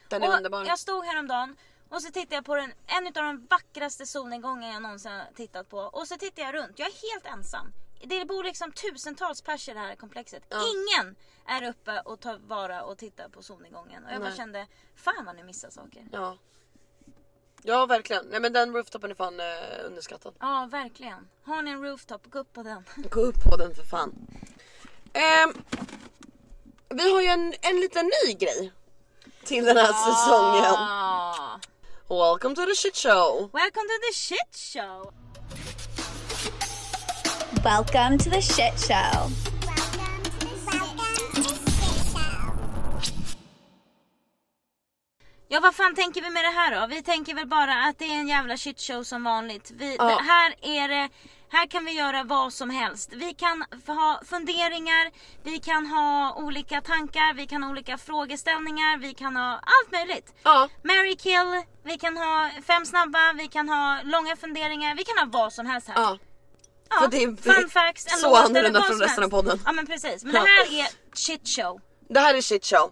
Speaker 2: Den är
Speaker 1: och
Speaker 2: underbar.
Speaker 1: Jag stod häromdagen och så tittade jag på den, en av de vackraste solnedgångar jag någonsin har tittat på. Och så tittade jag runt. Jag är helt ensam. Det bor liksom tusentals pers i det här komplexet.
Speaker 2: Ja.
Speaker 1: Ingen är uppe och tar vara och tittar på solnedgången. Och jag bara
Speaker 2: Nej.
Speaker 1: kände, fan vad ni missar saker.
Speaker 2: Ja. Ja verkligen. Nej men den rooftopen är fan eh, underskattad.
Speaker 1: Ja, verkligen. Har ni en rooftop, gå upp på den.
Speaker 2: Gå upp på den för fan. Ehm, vi har ju en, en liten ny grej till den här säsongen.
Speaker 1: Ah.
Speaker 2: Welcome to the shit show.
Speaker 1: [LAUGHS] Welcome to the shit show!
Speaker 4: Welcome to the shit show.
Speaker 1: Ja vad fan tänker vi med det här då? Vi tänker väl bara att det är en jävla shit show som vanligt. Vi,
Speaker 2: Ja.
Speaker 1: det, här är det, här kan vi göra vad som helst. Vi kan f- ha funderingar, vi kan ha olika tankar, vi kan ha olika frågeställningar, vi kan ha allt möjligt.
Speaker 2: Ja,
Speaker 1: Mary kill, vi kan ha fem snabba, vi kan ha långa funderingar, vi kan ha vad som helst här.
Speaker 2: ja.
Speaker 1: Ja,
Speaker 2: För det är
Speaker 1: fun facts, en
Speaker 2: så
Speaker 1: låt eller
Speaker 2: annorlunda
Speaker 1: vad
Speaker 2: från
Speaker 1: som
Speaker 2: resten av
Speaker 1: helst.
Speaker 2: podden.
Speaker 1: Ja men precis, men
Speaker 2: Ja.
Speaker 1: det här är shit show.
Speaker 2: Det här är shit show.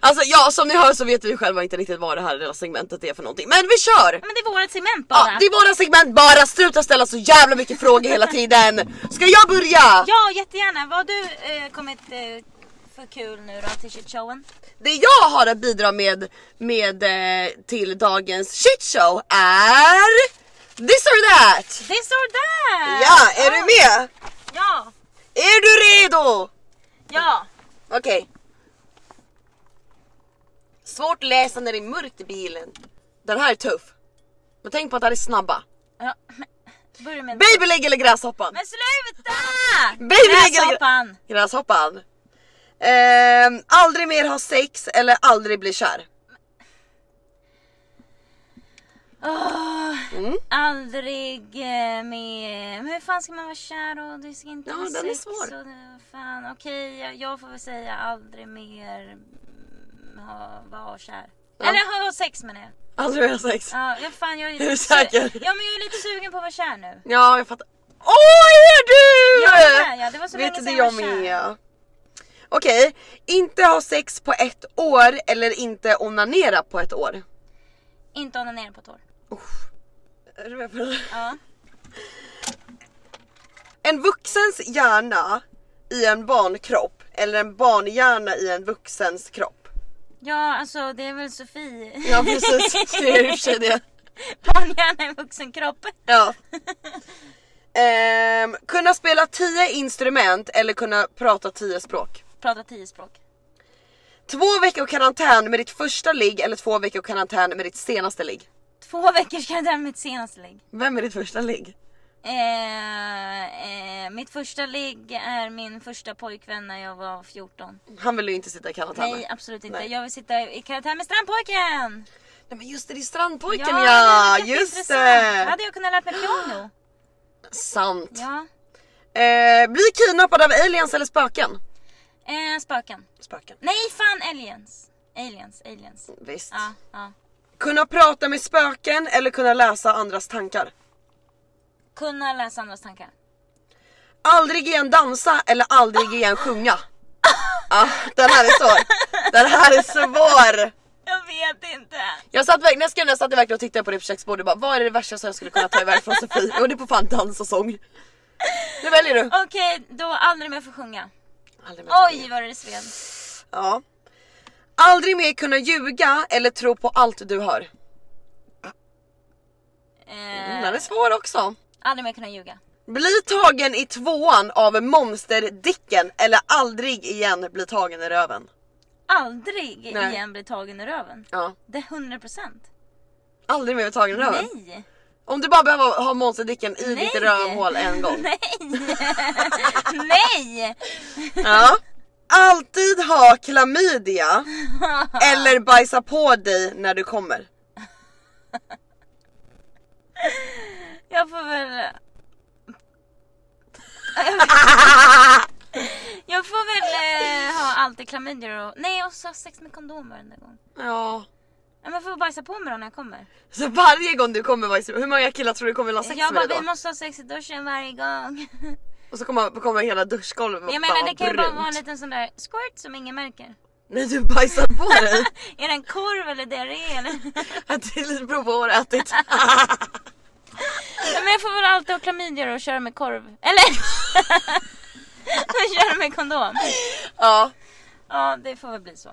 Speaker 2: alltså [LAUGHS] Alltså ja, som ni hör så vet vi själva inte riktigt vad det här lilla segmentet är för någonting. Men vi kör!
Speaker 1: Men det är vårt segment bara.
Speaker 2: Ja, det är våra segment bara, sluta ställa så jävla mycket frågor hela tiden! Ska jag börja?
Speaker 1: Ja, jättegärna. Vad har du eh, kommit eh, för kul nu då till shitshowen?
Speaker 2: Det jag har att bidra med, med eh, till dagens shitshow är this or that!
Speaker 1: This or that!
Speaker 2: Ja, är du med?
Speaker 1: Ja,
Speaker 2: Är du redo?
Speaker 1: ja.
Speaker 2: Okej. Svårt att läsa när det är mörkt i bilen. Den här är tuff. Men tänk på att det här är snabba.
Speaker 1: ja. men- Börja med...
Speaker 2: Babylägg eller gräshoppan?
Speaker 1: Men sluta!
Speaker 2: Babylägg eller-
Speaker 1: Gräshoppan!
Speaker 2: Gräshoppan. Ehm, aldrig mer ha sex eller aldrig bli kär.
Speaker 1: Åh,
Speaker 2: Mm.
Speaker 1: Aldrig eh, med... Men hur fan ska man vara kär och du ska inte
Speaker 2: Ja,
Speaker 1: ha
Speaker 2: den är
Speaker 1: sex?
Speaker 2: svår.
Speaker 1: Och, det- fan, okej, jag, jag får väl säga aldrig mer mm, ha, vara kär.
Speaker 2: Ja.
Speaker 1: Eller ha, ha sex menar jag.
Speaker 2: Aldrig mer ha sex.
Speaker 1: Ja, jag, fan, jag är, lite
Speaker 2: Är du
Speaker 1: su-
Speaker 2: säker?
Speaker 1: Ja, men jag är lite sugen på att vara kär nu.
Speaker 2: Ja, jag fattar. Åh, är du?
Speaker 1: Jag är med, ja. Det var så
Speaker 2: Vet
Speaker 1: länge
Speaker 2: du det
Speaker 1: sedan
Speaker 2: jag
Speaker 1: var kär.
Speaker 2: med? Okej, inte ha sex på ett år eller inte onanera på ett år.
Speaker 1: Inte onanera på ett år.
Speaker 2: Är du med på det?
Speaker 1: Ja.
Speaker 2: En vuxens hjärna i en barnkropp eller en barnhjärna i en vuxens kropp.
Speaker 1: ja, alltså det är väl Sofie.
Speaker 2: Ja
Speaker 1: [LAUGHS]
Speaker 2: precis, det är i och för sig det.
Speaker 1: Barnhjärna i vuxen kropp.
Speaker 2: Ja. Ehm, kunna spela 10 instrument eller kunna prata 10 språk.
Speaker 1: [LAUGHS] Prata tio språk.
Speaker 2: Två veckor karantän med ditt första ligg eller två veckor karantän med ditt senaste ligg.
Speaker 1: Två veckor ska jag där mitt senaste ligg.
Speaker 2: Vem är ditt första ligg?
Speaker 1: Eh, eh, mitt första ligg är min första pojkvän när jag var 14.
Speaker 2: Han vill ju inte sitta i karantän.
Speaker 1: Nej, absolut inte.
Speaker 2: Nej.
Speaker 1: Jag vill sitta i karantän med strandpojken!
Speaker 2: Nej men just det, det är strandpojken
Speaker 1: det
Speaker 2: ja!
Speaker 1: hade varit
Speaker 2: just
Speaker 1: jätteintressant.
Speaker 2: det!
Speaker 1: Hade jag kunnat lära mig
Speaker 2: [GASPS]
Speaker 1: piano?
Speaker 2: Sant.
Speaker 1: Ja.
Speaker 2: Eh, bli kidnappad av aliens eller spöken?
Speaker 1: Eh, spöken.
Speaker 2: Spöken.
Speaker 1: Nej, fan aliens. Aliens, aliens.
Speaker 2: Visst.
Speaker 1: Ja, ja.
Speaker 2: Kunna prata med spöken eller kunna läsa andras tankar.
Speaker 1: Kunna läsa andras tankar.
Speaker 2: Aldrig igen dansa eller aldrig igen
Speaker 1: [LAUGHS]
Speaker 2: sjunga. Ah, den här är svår. Den här är svår.
Speaker 1: Jag vet inte.
Speaker 2: Jag satt verkligen, jag skrev när jag satt verkligen och tittade på det på köksbordet och bara vad är det värsta som jag skulle kunna ta iväg från Sofie? Jo det är på fan dans och sång. Nu väljer du.
Speaker 1: Okej, då aldrig mer få sjunga.
Speaker 2: Aldrig mer
Speaker 1: Oj
Speaker 2: sjunga.
Speaker 1: vad det sved.
Speaker 2: Ja. Aldrig mer kunna ljuga eller tro på allt du
Speaker 1: Äh.
Speaker 2: hör. Den här är
Speaker 1: Eh,
Speaker 2: svår också.
Speaker 1: aldrig mer kunna ljuga.
Speaker 2: Bli tagen i tvåan av monsterdicken eller aldrig igen bli tagen i röven.
Speaker 1: Aldrig
Speaker 2: Nej.
Speaker 1: igen bli tagen i röven.
Speaker 2: Ja.
Speaker 1: Det är 100%.
Speaker 2: Aldrig mer bli tagen i röven.
Speaker 1: Nej!
Speaker 2: Om du bara behöver ha monsterdicken i ditt rövhål en gång.
Speaker 1: [LAUGHS] Nej! Nej!
Speaker 2: Ja. Alltid ha
Speaker 1: [LAUGHS]
Speaker 2: klamydia eller bajsa på dig när du kommer.
Speaker 1: Jag får väl... [LAUGHS] Jag får väl eh, ha alltid klamydior och... Nej, och så ha sex med kondom varenda gång.
Speaker 2: Ja.
Speaker 1: Ja, Men jag får bajsa på mig då när jag kommer.
Speaker 2: Så varje gång du kommer bajsa hur många killar tror du kommer vilja ha sex
Speaker 1: jag
Speaker 2: med
Speaker 1: bara,
Speaker 2: dig
Speaker 1: vi
Speaker 2: då?
Speaker 1: måste ha sex i duschen varje gång. [LAUGHS]
Speaker 2: Och så kommer, kommer hela duschgolvet vara
Speaker 1: Jag menar det kan ju bara
Speaker 2: brunt.
Speaker 1: vara en liten sån där squirt som ingen märker. [LAUGHS]
Speaker 2: Nej du bajsar på [LAUGHS] dig.
Speaker 1: Är det en korv eller diarré eller?
Speaker 2: Att det är lite prov på vad du har [LAUGHS] ätit.
Speaker 1: Ja, Men jag får väl alltid ha klamydior och köra med korv. Eller? [LAUGHS] och köra med kondom.
Speaker 2: ja.
Speaker 1: Ja, det får väl bli så.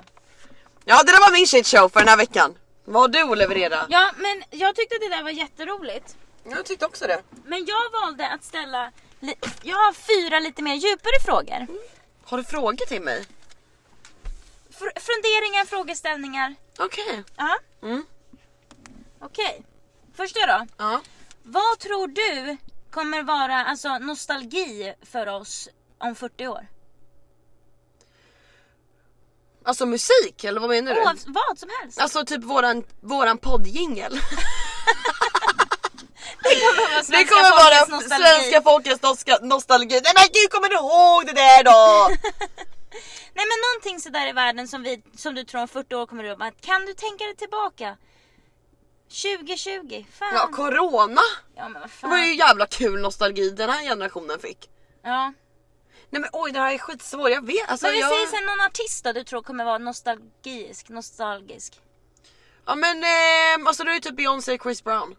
Speaker 2: ja det där var min shit show för den här veckan. Vad har du att leverera?
Speaker 1: Ja, men jag tyckte det där var jätteroligt.
Speaker 2: Jag tyckte också det.
Speaker 1: Men jag valde att ställa... Li- jag har fyra lite mer djupare frågor.
Speaker 2: Har du frågor till mig?
Speaker 1: Fr- funderingar, frågeställningar.
Speaker 2: Okej.
Speaker 1: Ja.
Speaker 2: Mm.
Speaker 1: Okej. Första då.
Speaker 2: Ja.
Speaker 1: Vad tror du kommer vara alltså, nostalgi för oss om 40 år?
Speaker 2: Alltså musik eller vad menar du?
Speaker 1: Oavs- vad som helst.
Speaker 2: Alltså typ våran, våran poddjingel.
Speaker 1: Det kommer vara
Speaker 2: Det
Speaker 1: svenska
Speaker 2: kommer
Speaker 1: folkets
Speaker 2: vara
Speaker 1: nostalgi.
Speaker 2: svenska folkets noska- nostalgi. Nej men gud kommer du ihåg det där [LAUGHS] då?
Speaker 1: Nej men någonting sådär i världen som, vi, som du tror om 40 år kommer du att kan du tänka dig tillbaka? 2020, fan.
Speaker 2: ja corona.
Speaker 1: Ja, men vad
Speaker 2: Det var ju
Speaker 1: fan.
Speaker 2: jävla kul nostalgi den här generationen fick.
Speaker 1: Ja.
Speaker 2: Nej men oj det här är skitsvår, jag vet. Alltså,
Speaker 1: Men vi
Speaker 2: jag...
Speaker 1: säger sen någon artist då du tror kommer vara nostalgisk, nostalgisk.
Speaker 2: Ja men ehm, alltså då är det typ Beyoncé och Chris Brown.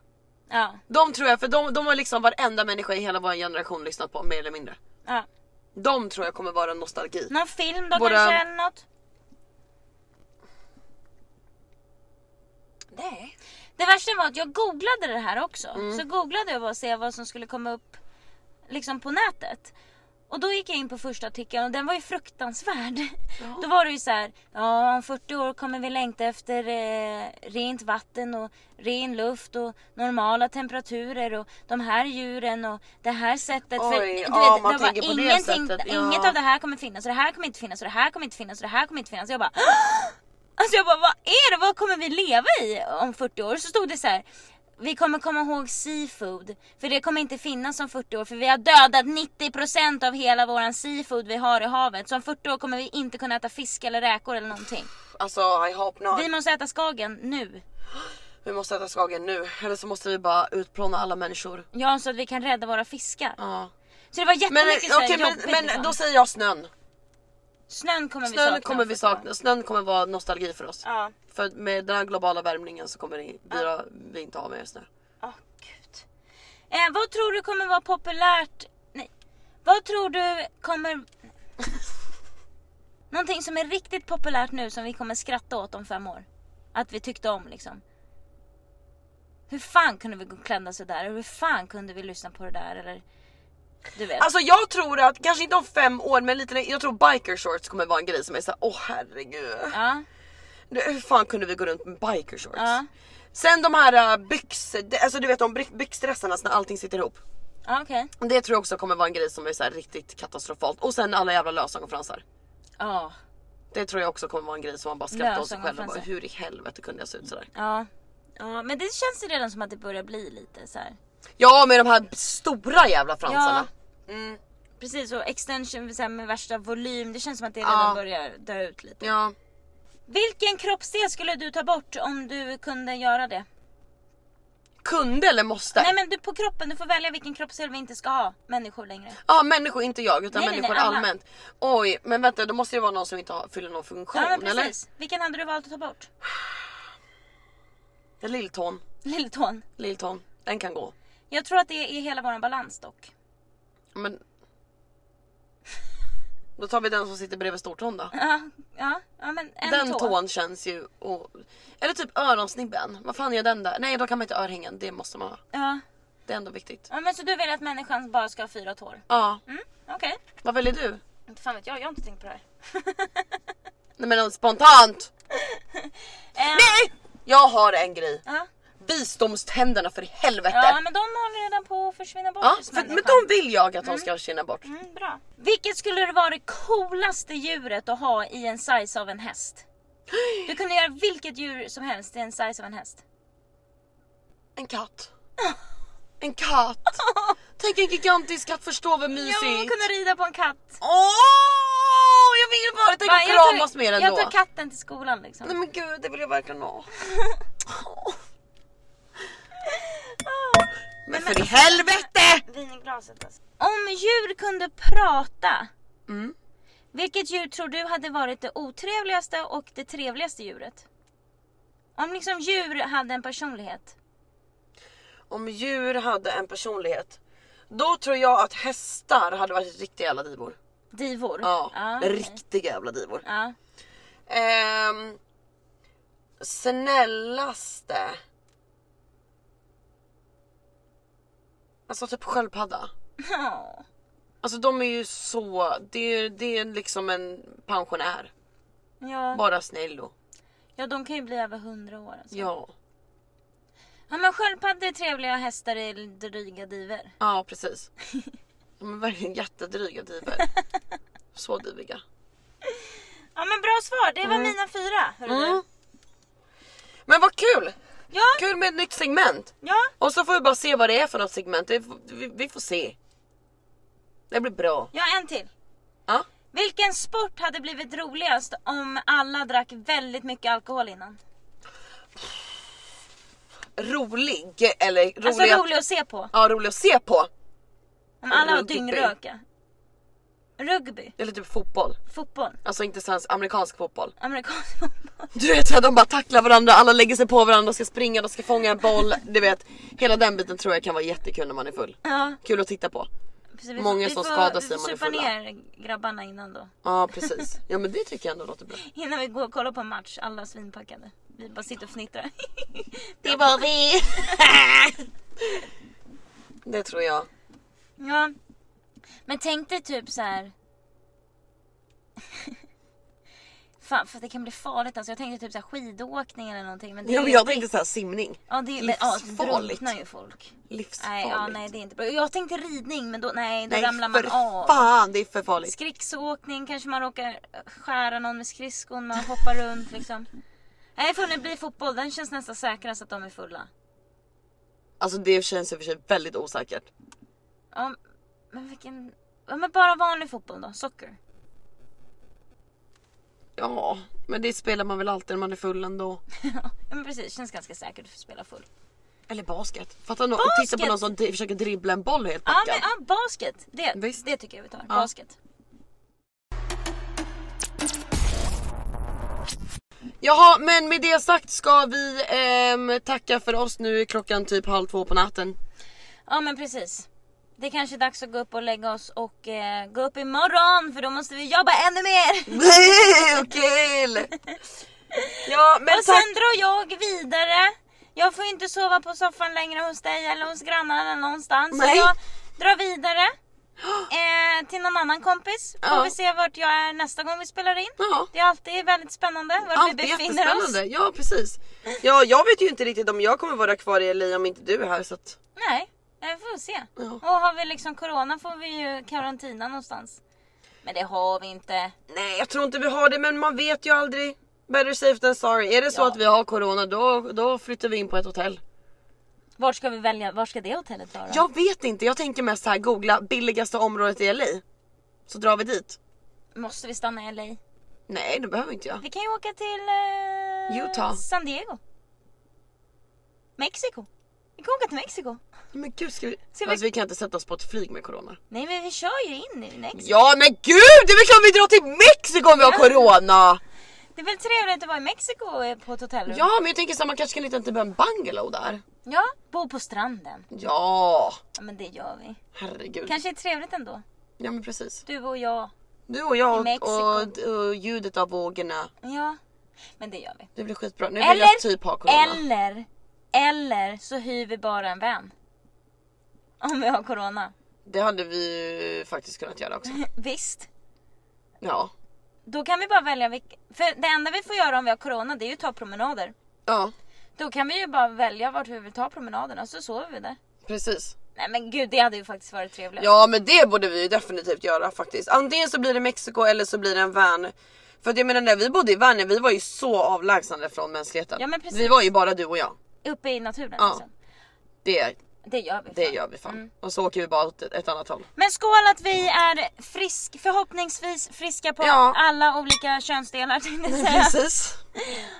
Speaker 1: Ja,
Speaker 2: De tror jag, för de, de har liksom varenda människa i hela vår generation lyssnat på mer eller mindre.
Speaker 1: ja.
Speaker 2: De tror jag kommer vara nostalgi.
Speaker 1: Någon film då
Speaker 2: Våra-
Speaker 1: kanske eller något?
Speaker 2: Nej.
Speaker 1: Det värsta var att jag googlade det här också.
Speaker 2: Mm.
Speaker 1: Så googlade jag för att se vad som skulle komma upp liksom på nätet. Och då gick jag in på första artikeln och den var ju fruktansvärd. Då var det ju så här, ja om 40 år kommer vi längta efter eh, rent vatten och ren luft och normala temperaturer och de här djuren och det här sättet.
Speaker 2: Oj,
Speaker 1: du
Speaker 2: ja, man
Speaker 1: det
Speaker 2: tänker på det sättet, ja.
Speaker 1: inget av det här kommer finnas och det här kommer inte finnas och det här kommer inte finnas och det här kommer inte finnas. Jag bara, Alltså jag bara, vad är det? Vad kommer vi leva i om 40 år? Så stod det så här. Vi kommer komma ihåg seafood, för det kommer inte finnas om 40 år för vi har dödat 90% av hela våran seafood vi har i havet. Så om 40 år kommer vi inte kunna äta fisk eller räkor eller någonting.
Speaker 2: Alltså I hope not.
Speaker 1: Vi måste äta skagen nu.
Speaker 2: Vi måste äta skagen nu eller så måste vi bara utplåna alla människor.
Speaker 1: Ja, så att vi kan rädda våra fiskar.
Speaker 2: Ja.
Speaker 1: Så det var
Speaker 2: Men,
Speaker 1: jättemycket så här
Speaker 2: okej,
Speaker 1: jobbigt.
Speaker 2: men, men
Speaker 1: liksom.
Speaker 2: då säger jag snön.
Speaker 1: Snön kommer vi sakna.
Speaker 2: Snön kommer
Speaker 1: om
Speaker 2: vi
Speaker 1: 40 år.
Speaker 2: sakna, snön kommer vara nostalgi för oss.
Speaker 1: Ja.
Speaker 2: För med den här globala värmningen så kommer vi, vi, vi inte ha mer snö.
Speaker 1: Åh gud. Eh, vad tror du kommer vara populärt? Nej. Vad tror du kommer... [LAUGHS] Någonting som är riktigt populärt nu som vi kommer skratta åt om fem år. Att vi tyckte om liksom. Hur fan kunde vi gå klädda sådär? Hur fan kunde vi lyssna på det där? Eller du vet.
Speaker 2: Alltså jag tror att, kanske inte om fem år men lite längre, jag tror biker shorts kommer vara en grej som är såhär åh herregud.
Speaker 1: ja,
Speaker 2: Det- Hur fan kunde vi gå runt med biker shorts?
Speaker 1: Ja.
Speaker 2: Sen de här uh, byx, det- alltså du vet de bry- byxdressarna när allting sitter ihop.
Speaker 1: ja okej.
Speaker 2: Det tror jag också kommer vara en grej som är så här riktigt katastrofalt. Och sen alla jävla lösögonfransar.
Speaker 1: Ja.
Speaker 2: Det tror jag också kommer vara en grej som man bara skrattar åt sig själv och bara,
Speaker 1: Lösögonfransar.
Speaker 2: hur i helvete kunde jag se ut sådär?
Speaker 1: Ja. Ja, men det känns ju redan som att det börjar bli lite så här.
Speaker 2: Ja med de här stora jävla fransarna.
Speaker 1: Mm. Precis, och extension så här, med värsta volym. Det känns som att det redan
Speaker 2: Ja.
Speaker 1: börjar dö ut lite.
Speaker 2: Ja.
Speaker 1: Vilken kroppsdel skulle du ta bort om du kunde göra det?
Speaker 2: Kunde eller måste?
Speaker 1: Nej men du på kroppen, du får välja vilken kroppsdel vi inte ska ha människor längre.
Speaker 2: Ja människor, inte jag utan
Speaker 1: Nej, nej,
Speaker 2: människor
Speaker 1: nej, alla.
Speaker 2: allmänt. Oj men vänta då måste det vara någon som inte har, fyller någon funktion
Speaker 1: Ja men
Speaker 2: eller?
Speaker 1: precis. Vilken hade du valt att ta bort? [LAUGHS]
Speaker 2: Lilltån,
Speaker 1: Lilltån.
Speaker 2: lilltån. Den kan gå.
Speaker 1: Jag tror att det är hela våran balans dock.
Speaker 2: Men... Då tar vi den som sitter bredvid stortån då.
Speaker 1: Ja, ja, ja men en
Speaker 2: den
Speaker 1: tå.
Speaker 2: tån känns ju... Och... Eller typ öronsnibben. Vad fan gör den där? Nej då kan man inte ha örhängen, det måste man ha.
Speaker 1: Ja.
Speaker 2: Det är ändå viktigt.
Speaker 1: ja men så du vill att människan bara ska ha fyra tår?
Speaker 2: Ja,
Speaker 1: Mm, okej.
Speaker 2: vad väljer du?
Speaker 1: Inte fan vet jag, jag har inte tänkt på det här. [LAUGHS]
Speaker 2: Nej men spontant!
Speaker 1: Eh,
Speaker 2: Nej! Jag har en grej.
Speaker 1: Ja.
Speaker 2: Visdomständerna för helvete!
Speaker 1: ja men de håller redan på att försvinna bort
Speaker 2: Ja,
Speaker 1: hos
Speaker 2: för, men
Speaker 1: människan.
Speaker 2: de vill jag att de ska känna bort.
Speaker 1: Mm, bra. Vilket skulle det vara det coolaste djuret att ha i en size av en häst? Du kunde göra vilket djur som helst i en size av en häst.
Speaker 2: En katt.
Speaker 1: [LAUGHS]
Speaker 2: En katt! Tänk en gigantisk katt, förstå vad mysigt!
Speaker 1: Ja, man kunde rida på en katt.
Speaker 2: Åh, jag vill bara tänk
Speaker 1: Bara,
Speaker 2: att kramas med den
Speaker 1: jag
Speaker 2: då.
Speaker 1: tar katten till skolan liksom.
Speaker 2: Nej men gud, det vill jag verkligen ha. Men för i helvete!
Speaker 1: Vin i glaset alltså. Om djur kunde prata,
Speaker 2: Mm.
Speaker 1: vilket djur tror du hade varit det otrevligaste och det trevligaste djuret? Om liksom djur hade en personlighet.
Speaker 2: Om djur hade en personlighet, då tror jag att hästar hade varit riktiga jävla divor.
Speaker 1: Divor.
Speaker 2: Ja,
Speaker 1: Ah, okej.
Speaker 2: riktiga jävla divor.
Speaker 1: ja. [LAUGHS]
Speaker 2: Ehm, snällaste. Alltså typ sköldpadda.
Speaker 1: Ja.
Speaker 2: Alltså de är ju så, det är, det är liksom en pensionär.
Speaker 1: Ja.
Speaker 2: Bara snäll och
Speaker 1: Ja, de kan ju bli över 100 år. Alltså. Ja.
Speaker 2: ja.
Speaker 1: men sköldpaddor är trevliga och hästar är dryga diver.
Speaker 2: Ja precis. De är verkligen jättedryga diver. Så diviga.
Speaker 1: Ja, men bra svar. Det var
Speaker 2: Mm.
Speaker 1: mina fyra. hörru du.
Speaker 2: Men vad kul!
Speaker 1: Ja,
Speaker 2: Kul med ett nytt segment.
Speaker 1: ja,
Speaker 2: Och så får vi bara se vad det är för något segment. Det, vi, vi får se. Det blir bra.
Speaker 1: ja, en till.
Speaker 2: Ja.
Speaker 1: Vilken sport hade blivit roligast om alla drack väldigt mycket alkohol innan?
Speaker 2: Rolig eller rolig,
Speaker 1: Alltså
Speaker 2: att-
Speaker 1: rolig att se på.
Speaker 2: Ja, rolig att se på.
Speaker 1: Om alla var
Speaker 2: Ruggby.
Speaker 1: dyngröka. Rugby,
Speaker 2: Eller typ fotboll.
Speaker 1: fotboll,
Speaker 2: Alltså inte svensk, amerikansk fotboll.
Speaker 1: amerikansk [LAUGHS] fotboll.
Speaker 2: Du vet såhär de bara tacklar varandra, alla lägger sig på varandra, ska springa, de ska fånga en boll. Du vet, hela den biten tror jag kan vara jättekul när man är full.
Speaker 1: Ja,
Speaker 2: Kul att titta på.
Speaker 1: precis. Vi-
Speaker 2: Många
Speaker 1: vi
Speaker 2: som
Speaker 1: får-
Speaker 2: skadar sig
Speaker 1: Vi
Speaker 2: om man
Speaker 1: får
Speaker 2: är
Speaker 1: supa
Speaker 2: fulla.
Speaker 1: ner grabbarna innan då.
Speaker 2: Ja precis. Ja men det tycker jag ändå låter bra.
Speaker 1: Innan vi går och kollar på en match, alla svinpackade. Vi bara sitter och fnittrar. [LAUGHS]
Speaker 2: Det var vi! [LAUGHS] det tror jag.
Speaker 1: Ja. Men tänk dig typ så här. [LAUGHS] Fan, för det kan bli farligt alltså. Jag tänkte typ så här skidåkning eller någonting. Men det
Speaker 2: Ja,
Speaker 1: är
Speaker 2: men
Speaker 1: ju-
Speaker 2: jag tänkte såhär simning.
Speaker 1: Ja, det är men, ja, så
Speaker 2: livsfarligt.
Speaker 1: drunknar ju folk. Nej,
Speaker 2: Livsfarligt.
Speaker 1: ja, nej, det är inte bra. Jag tänkte ridning, men då, nej, då
Speaker 2: Nej,
Speaker 1: ramlar man
Speaker 2: för
Speaker 1: av.
Speaker 2: fan det är för farligt.
Speaker 1: Skridskoåkning, kanske man råkar skära någon med skridskon, man hoppar runt liksom. Nej, får det bli fotboll. Den känns nästan säkrast att de är fulla.
Speaker 2: Alltså det känns i och för sig väldigt osäkert.
Speaker 1: Ja, men vilken... Ja, men bara vanlig fotboll då, socker.
Speaker 2: Ja, men det spelar man väl alltid när man är full ändå.
Speaker 1: Ja, men precis, känns ganska säkert att spela full.
Speaker 2: Eller basket. Fattar någon
Speaker 1: Basket!
Speaker 2: titta på någon som dri- försöker dribbla en boll helt
Speaker 1: Ja,
Speaker 2: packad.
Speaker 1: men ja, basket. Det,
Speaker 2: Visst.
Speaker 1: det tycker jag vi tar.
Speaker 2: Ja.
Speaker 1: Basket.
Speaker 2: Jaha, men med det sagt ska vi ehm, tacka för oss. Nu är klockan typ halv två
Speaker 1: [LAUGHS]
Speaker 2: på natten.
Speaker 1: Ja, men precis. Det kanske är dags att gå upp och lägga oss och eh, gå upp imorgon för då måste vi jobba ännu mer.
Speaker 2: Nej, kul! Ja, men
Speaker 1: och
Speaker 2: tack.
Speaker 1: sen drar jag vidare. Jag får inte sova på soffan längre hos dig eller hos grannarna eller någonstans.
Speaker 2: Nej.
Speaker 1: Så jag drar
Speaker 2: [GASPS]
Speaker 1: vidare eh, till någon annan kompis. Får
Speaker 2: Ja.
Speaker 1: vi se vart jag är nästa gång vi spelar in.
Speaker 2: Ja.
Speaker 1: Det är alltid väldigt spännande vart
Speaker 2: Allt
Speaker 1: vi
Speaker 2: är
Speaker 1: befinner oss.
Speaker 2: jättespännande. Ja, precis. Ja, jag vet ju inte riktigt om jag kommer vara kvar i LA om inte du är här så att...
Speaker 1: Nej, eh, vi får se.
Speaker 2: Ja.
Speaker 1: Och har vi liksom corona får vi ju karantina någonstans. Men det har vi inte.
Speaker 2: Nej, jag tror inte vi har det, men man vet ju aldrig. Better safe than sorry. Är det så
Speaker 1: Ja.
Speaker 2: att vi har corona, då, då flyttar vi in på ett hotell.
Speaker 1: Vart ska vi välja? Vart ska det hotellet vara?
Speaker 2: Jag vet inte, jag tänker mest så här googla billigaste området i LA. Så drar vi dit.
Speaker 1: Måste vi stanna i LA?
Speaker 2: Nej, det behöver inte jag.
Speaker 1: Vi kan ju åka till... Eh,
Speaker 2: Utah.
Speaker 1: San Diego. Mexiko. Vi kan åka till Mexiko.
Speaker 2: Men gud, ska vi...
Speaker 1: Ska vi-
Speaker 2: Alltså, vi kan inte sätta oss på ett flyg med corona.
Speaker 1: Nej men vi kör ju in i Mexiko.
Speaker 2: Ja, men gud! Det är väl klart vi drar till Mexiko om vi har corona!
Speaker 1: Det är väl trevligt att vara i Mexiko eh, på ett hotellrum?
Speaker 2: Ja, men jag tänker så här, man kanske kan hitta en typ en bungalow där.
Speaker 1: ja. Bo på stranden.
Speaker 2: Ja,
Speaker 1: Ja men det gör vi.
Speaker 2: herregud.
Speaker 1: Kanske är trevligt ändå.
Speaker 2: Ja, men precis.
Speaker 1: Du och jag.
Speaker 2: Du och jag
Speaker 1: I
Speaker 2: och,
Speaker 1: Mexiko.
Speaker 2: och, och ljudet av vågorna.
Speaker 1: Ja. Men det gör vi.
Speaker 2: Det blir skitbra. Nu vill
Speaker 1: Eller,
Speaker 2: jag typ ha corona.
Speaker 1: eller, eller så hyr vi bara en vän. Om vi har corona. [LAUGHS]
Speaker 2: Det hade vi ju faktiskt kunnat göra också.
Speaker 1: Visst.
Speaker 2: Ja.
Speaker 1: Då kan vi bara välja vilk... För det enda vi får göra om vi har corona det är ju ta promenader.
Speaker 2: Ja,
Speaker 1: Då kan vi ju bara välja vart vi vill ta promenaderna så sover vi där.
Speaker 2: precis.
Speaker 1: Nej men gud det hade ju faktiskt varit trevligt.
Speaker 2: Ja, men det borde vi ju definitivt göra faktiskt. Antingen så blir det Mexiko eller så blir det en van. För att jag menar när vi bodde i Värnö, vi var ju så avlägsnade från mänskligheten.
Speaker 1: Ja, men precis.
Speaker 2: Vi var ju bara du och jag.
Speaker 1: Uppe i naturen
Speaker 2: Ja.
Speaker 1: liksom.
Speaker 2: Det,
Speaker 1: Det gör vi.
Speaker 2: det
Speaker 1: fan.
Speaker 2: gör vi fan.
Speaker 1: Mm.
Speaker 2: Och så åker vi bara åt ett, ett annat håll.
Speaker 1: Men skål att vi är frisk, förhoppningsvis friska på
Speaker 2: Ja.
Speaker 1: alla olika könsdelar tänkte
Speaker 2: [LAUGHS]
Speaker 1: jag säga.
Speaker 2: Precis.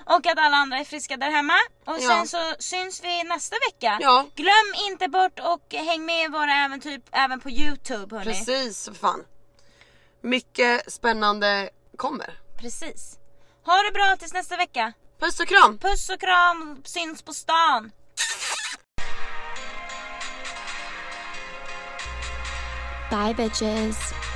Speaker 1: Och att alla andra är friska där hemma. Och
Speaker 2: Ja.
Speaker 1: sen så syns vi nästa vecka.
Speaker 2: Ja.
Speaker 1: Glöm inte bort och häng med i våra äventyr även på Youtube hörni.
Speaker 2: Precis, för fan. Mycket spännande kommer.
Speaker 1: Precis. Ha det bra tills nästa vecka.
Speaker 2: Puss och kram!
Speaker 1: Puss och kram, syns på stan.
Speaker 3: Bye, bitches.